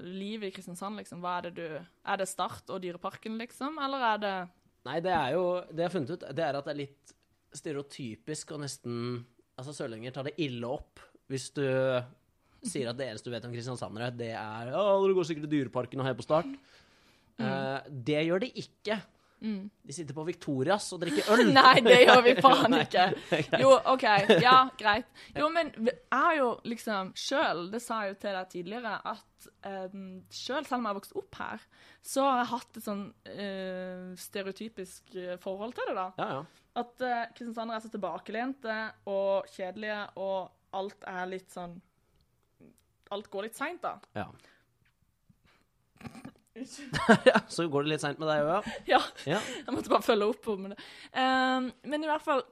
livet i Kristiansand, liksom? Hva er det du Er det Start og Dyreparken, liksom? Eller er det Nei, det er jo Det jeg har funnet ut, det er at det er litt stereotypisk og nesten Altså, sørlendinger tar det ille opp hvis du sier at det eneste du vet om kristiansandere, det er Å, du går sikkert til Dyreparken og heier på Start. Eh, det gjør de ikke. De sitter på Victorias og drikker øl. Nei, det gjør vi faen Nei, ikke. det er greit. Jo, OK. Ja, greit. Jo, men v- jeg har jo liksom sjøl, det sa jeg jo til deg tidligere, at um, sjøl, selv om jeg har vokst opp her, så har jeg hatt et sånn eh, stereotypisk eh, forhold til det, da. Ja, ja. At uh, kristiansandere er så tilbakelente og kjedelige, og alt er litt sånn Alt går litt seint, da. Ja. ja, så går det litt seint med deg òg, Ja. ja. Jeg måtte bare følge opp om det. Ehm, men i hvert fall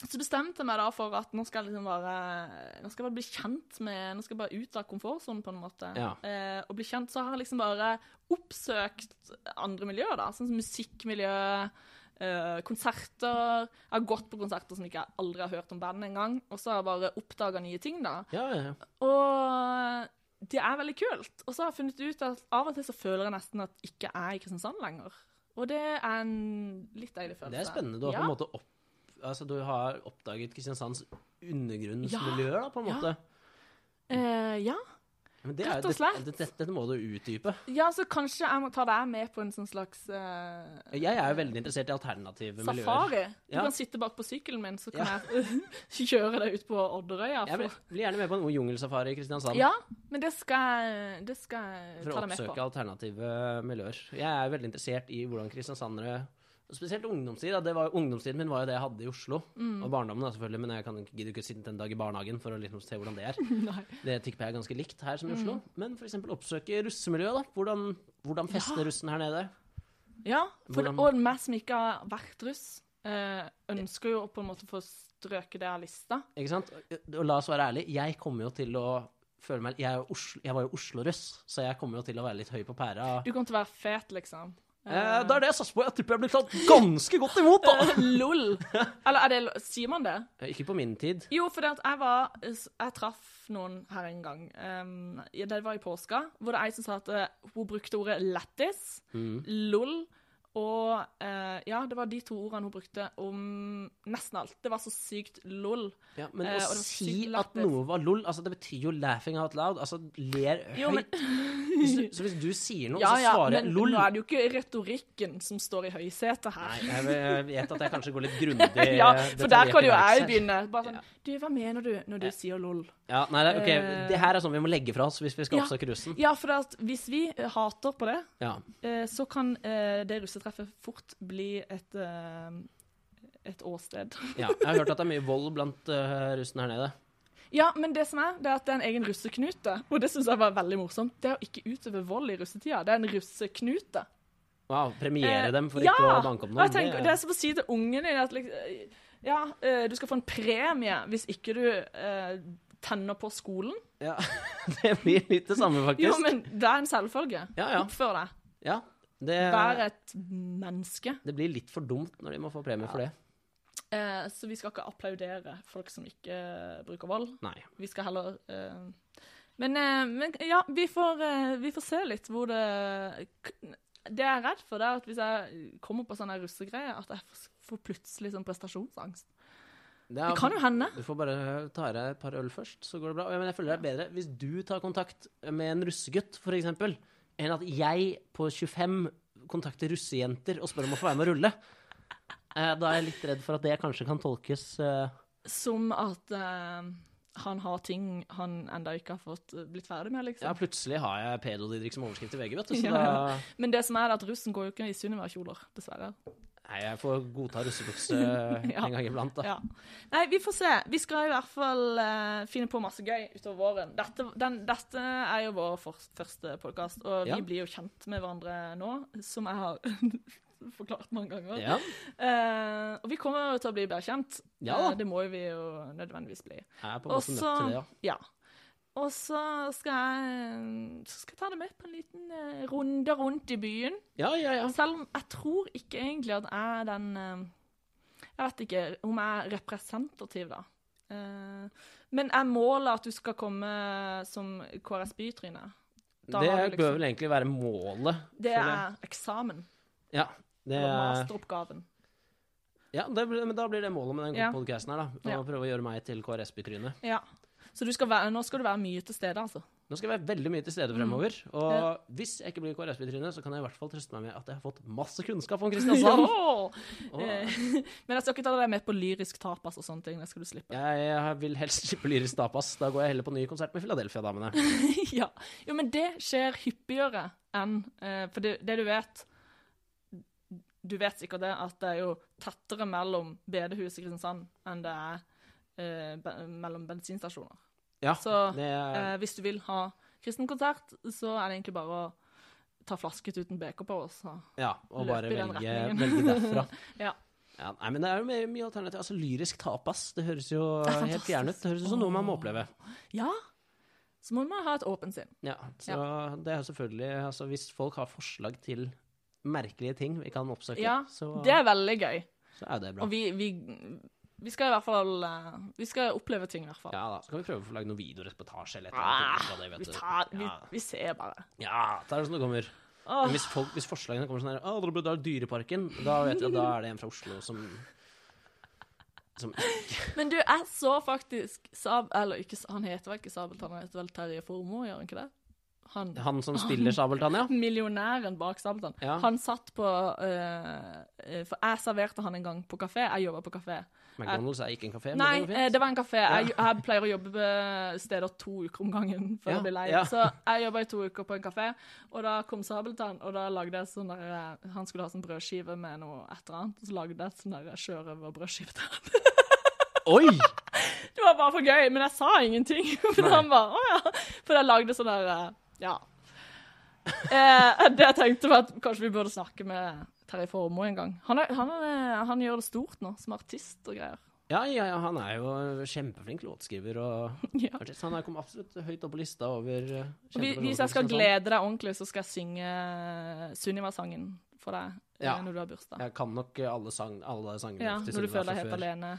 så bestemte jeg meg da for at nå skal jeg liksom bare Nå skal jeg bare bli kjent med Nå skal jeg bare ut av komfortsonen, på en måte. Ja. Eh, og bli kjent. Så har jeg liksom bare oppsøkt andre miljøer, da. Sånn som musikkmiljø, eh, konserter Jeg har gått på konserter som ikke jeg aldri har hørt om bandet engang. Og så har jeg bare oppdaga nye ting, da. Ja, ja, ja. Og det er veldig kult. Og så har jeg funnet ut at av og til så føler jeg nesten at jeg ikke er i Kristiansand lenger. Og det er en litt deilig følelse. Det er spennende. Altså, Du har ja. på en måte opp, altså, du har oppdaget Kristiansands undergrunnsmiljøer, da, på en Ja. måte. Eh, ja. Men det Rett er, og slett. Dette, dette, dette må du utdype. ja, så kanskje jeg må ta deg med på en sånn slags eh, Jeg er jo veldig interessert i alternative miljøer. safari. Du Ja. kan sitte bak på sykkelen min, så kan Ja. jeg kjøre deg ut på Odderøya. Jeg vil, For... blir gjerne med på en jungelsafari i Kristiansand. Ja, men det skal jeg, det skal jeg For å ta deg med oppsøke på. alternative miljøer. Jeg er veldig interessert i hvordan kristiansandere og Spesielt ungdomstid. Da. Det var, jo- ungdomstiden min var jo det jeg hadde i Oslo. Mm. Og barndommen, da, selvfølgelig. Men jeg kan ikke- gidder ikke å sitte en dag i barnehagen for å liksom se hvordan det er. Nei. Det tipper jeg er ganske likt her som i Oslo. Mm. Men for eksempel oppsøke russemiljøet, da. Hvordan, hvordan fester russen her nede? Ja, for det, Hvordan- og meg som ikke har vært russ, eh, ønsker jo å på en måte få strøket det av lista. Ikke sant? Og la oss være ærlig, jeg kommer jo til å føle meg Jeg, er jo Oslo, jeg var jo Oslo-russ, så jeg kommer jo til å være litt høy på pæra. Du kommer til å være fet, liksom. Eh, det er det jeg satser på. Jeg tipper jeg blir tatt ganske godt imot, da. Lol. Eller er det lo- Sier man det? Eh, Ikke på min tid. Jo, for at jeg var Jeg traff noen her en gang. Um, ja, det var i påska, hvor det er ei som sa at eh, hun brukte ordet lættis, Mm. lol, og eh, Ja, det var de to ordene hun brukte om nesten alt. Det var så sykt lol. Ja, men Eh, og det å var si sykt at lættis. noe var lol, altså det betyr jo 'laughing out loud'. Altså ler høyt. Jo, men- Hvis du, så hvis du sier noe, Ja så ja, svarer men jeg 'lol'. nå er det jo ikke retorikken som står i høysetet Nei, her. jeg jeg vet at jeg kanskje går litt grundig ja, for der kan detaljert jo verks jeg her. begynne. Bare sånn Du, hva mener du når du sier lol? Ja, nei, det- ok, Eh, Det her er sånn vi må legge fra oss hvis vi skal ja. oppsøke russen. Ja, for at hvis vi eh, hater på det, Ja. eh, så kan eh, det russetreffet fort bli et, eh, et åsted. ja. Jeg har hørt at det er mye vold blant eh, russen her nede. Ja, men det som er, det er at det er en egen russeknute, og det syns jeg var veldig morsomt. Det er å ikke utøve vold i russetida, det er en russeknute. Wow, premiere Eh, dem for ja! ikke å banke opp Og jeg noen. tenker, det er som å si til ungen din at liksom, ja, eh, du skal få en premie hvis ikke du eh, tenner på skolen. ja, det blir litt det samme, faktisk. Jo, men det er en selvfølge. Ja, Eh, ja. Oppfør deg. Ja, det, Vær et menneske. det blir litt for dumt når de må få premie for det. Eh, så vi skal ikke applaudere folk som ikke eh, bruker vold. Nei. Vi skal heller eh, men, eh, men ja, vi får, eh, vi får se litt hvor det Det jeg er redd for, det er at hvis jeg kommer på sånne russegreier, at jeg får- får plutselig sånn prestasjonsangst. Det, er- Det kan jo hende. Du får bare ta deg et par øl først, så går det bra. Ja, Men jeg føler det er bedre hvis du tar kontakt med en russegutt, for eksempel, enn at jeg på 25 kontakter russejenter og spør om å få være med å rulle. Eh, Da er jeg litt redd for at det kanskje kan tolkes eh, Som at eh, han har ting han enda ikke har fått eh, blitt ferdig med, liksom. Ja, plutselig har jeg pedo-Didrik som overskrift i VG, vet du. Så Ja, da ja. Men det som er, er at russen går jo ikke i Sunniva-kjoler, dessverre. Nei, jeg får godta russebukse en gang iblant, da. Ja. Nei, vi får se. Vi skal i hvert fall eh, finne på masse gøy utover våren. Dette, den, dette er jo vår for, første podkast, og Ja. vi blir jo kjent med hverandre nå, som jeg har forklart mange ganger. Ja. Eh, og vi kommer jo til å bli bedre kjent. Ja da. Eh, det må jo vi jo nødvendigvis bli. Jeg er på en Og måte nødt så til det, ja. ja. Og så skal jeg, så skal jeg ta det med på en liten eh, runde rundt i byen. Ja, ja, ja. Selv om jeg tror ikke egentlig at jeg er den eh, Jeg vet ikke om jeg er representativ, da. Eh, Men er målet at du skal komme som KrS Bytryne? Da Det har du bør liksom- vel egentlig være målet. Det for er eksamen. Ja, det Eller er masteroppgaven. Ja, det, blir- men da blir det målet med den Ja. podcasten her, da. Å Ja. prøve å gjøre meg til KrS-bytryne. Ja. Så du skal være, nå skal du være mye til stede, altså. Nå skal jeg være veldig mye til stede fremover. Mm. Og hvis jeg ikke blir KrS-bytryne, så kan jeg i hvert fall trøste meg med at jeg har fått masse kunnskap om Kristiansand. Ja. Og Eh, Men jeg skal ikke ta deg med på lyrisk tapas og sånne ting. Det skal du slippe. jeg vil helst slippe lyrisk tapas. Da går jeg heller på ny konsert med Philadelphia-damene. ja. Jo, men det skjer hyppigere enn eh, For det, det du vet Du vet sikkert det, at det er jo tettere mellom bedehuset i Kristiansand enn det er eh, be mellom bensinstasjoner. Ja, Så, det er, Eh, hvis du vil ha kristen konsert, så er det egentlig bare å ta flasket uten BK på oss. så. ja, og løp bare i den velge, retningen. velge derfra. Ja. Ja, nei, men det er jo mye, mye alternativ. Altså, lyrisk tapas, det høres jo Det er helt fjern ut. Det høres ut som noe man må oppleve. Ja, så må man ha et åpent sinn. Ja, så det er jo selvfølgelig altså, Hvis folk har forslag til merkelige ting vi kan oppsøke, Ja, så, Det er veldig gøy. så er det bra. Og vi, vi, vi skal i hvert fall eh, Vi skal oppleve ting, i hvert fall. Ja da, så kan vi prøve å få lagd noen videoreportasje eller et Ah, eller annet. ut fra det, vet vi, du. tar, vi, Ja. vi ser bare. Ja, det er det som det kommer. Men Åh, hvis, folk, hvis forslagene kommer sånn her Å, dere burde ha Dyreparken. Da vet vi at da er det en fra Oslo som Som men du, jeg så faktisk Sab... Eller ikke, han heter vel ikke Sabeltann, han heter vel Terje Formoe, gjør han ikke det? Han Han som spiller Sabeltann, ja. millionæren bak Sabeltann. Ja. Han satt på eh, eh, For jeg serverte han en gang på kafé. Jeg jobba på kafé. McDonald's er ikke en kafé, Nei, men det går eh, fint. det var en kafé. Jeg, jeg pleier å jobbe på steder to uker om gangen før Ja, jeg blir lei. ja. Så jeg jobba i to uker på en kafé, og da kom Sabeltann, og da lagde jeg sånn der eh, Han skulle ha sånn brødskive med noe et eller annet, og så lagde jeg sånn der sjørøverbrødskive til han. Oi! Det var bare for gøy, men jeg sa ingenting. For Nei. han bare Å ja. For jeg lagde sånn der eh, Ja. Eh, det jeg tenkte var at kanskje vi burde snakke med Terje Formoe en gang. Han, er, han, er, han gjør det stort nå, som artist og greier. Ja, ja, ja, han er jo kjempeflink låtskriver og Ja. artist. Han er kommet absolutt høyt opp på lista over eh, sånn. kjente Og vi- personer Hvis fra jeg skal Kristiansand. glede deg ordentlig, så skal jeg synge eh, Sunniva-sangen for deg eh, Ja. når du har bursdag. Jeg kan nok eh, alle, sang, alle sangene Ja, til når du Sunniva føler deg fra helt før. alene.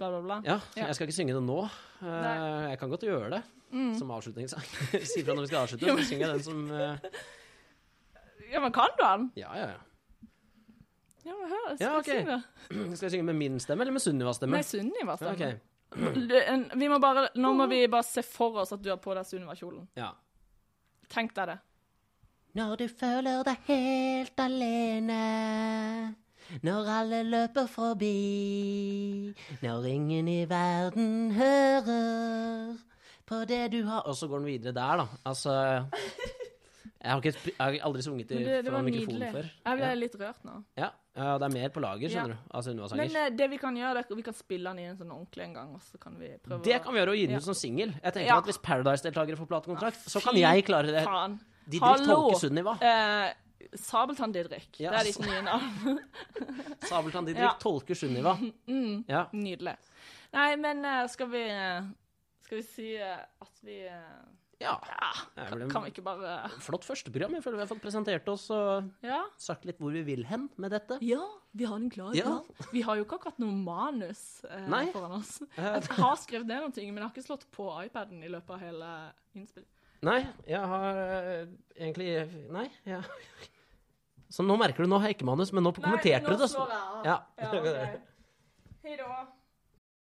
Bla, bla, bla. Ja, Ja. jeg skal ikke synge det nå. Eh, Nei. Mm. jeg kan godt gjøre det som avslutningssang. si fra når vi skal avslutte, Jo, så men- synger jeg den som eh, Ja, men kan du den? Ja, ja, ja. Ja, men hør, jeg skal Ja, ok. synge det. Skal jeg synge med min stemme eller med Sunnivas stemme? Nei, Sunniva. Ja, sangen. ok. Du, en- Vi må bare, nå må vi bare se for oss at du har på deg Sunniva-kjolen. ja. Tenk deg det. Når du føler deg helt alene. Når alle løper forbi. Når ingen i verden hører på det du har Og så går den videre der, da. Altså Jeg har, ikke, sp- jeg har aldri sunget i, Men det, det fra var mikrofon nydelig. før. Jeg ble Ja. litt rørt nå. Ja. ja, det er mer på Ja. lager, skjønner du, av Men Sunniva-sanger. eh, det vi kan gjøre, det er at vi kan spille den i en sånn ordentlig en gang, og så kan vi prøve Det kan vi gjøre og gi den eh, Ja. ut som singel. Jeg tenker Ja. at Hvis Paradise-deltakere får platekontrakt, så kan Fy jeg klare det. Faen. Didrik Hallo. tolker Sunniva. Eh, Sabeltann-Didrik. Ja, Det er ditt altså. nye navn. Sabeltann Didrik Ja. Mm. tolker Sunniva. Ja. Nydelig. Nei, men eh, skal vi eh, Skal vi si eh, at vi eh, ja. Det er vel kan, en- kan vi ikke bare Flott førsteprogram. Jeg føler vi har fått presentert oss og Ja? sagt litt hvor vi vil hen med dette. Ja, vi har en klar Ja. plan. Vi har jo ikke akkurat noe manus eh, Nei. foran oss. Eh, Jeg har skrevet ned noen ting, men jeg har ikke slått på iPaden i løpet av hele innspillet. Nei, jeg har eh, egentlig Nei. Ja. Så nå merker du, nå har jeg ikke manus, men nå Nei, kommenterte nå du det. slår jeg av. Ja. Ja, ok. Hei da.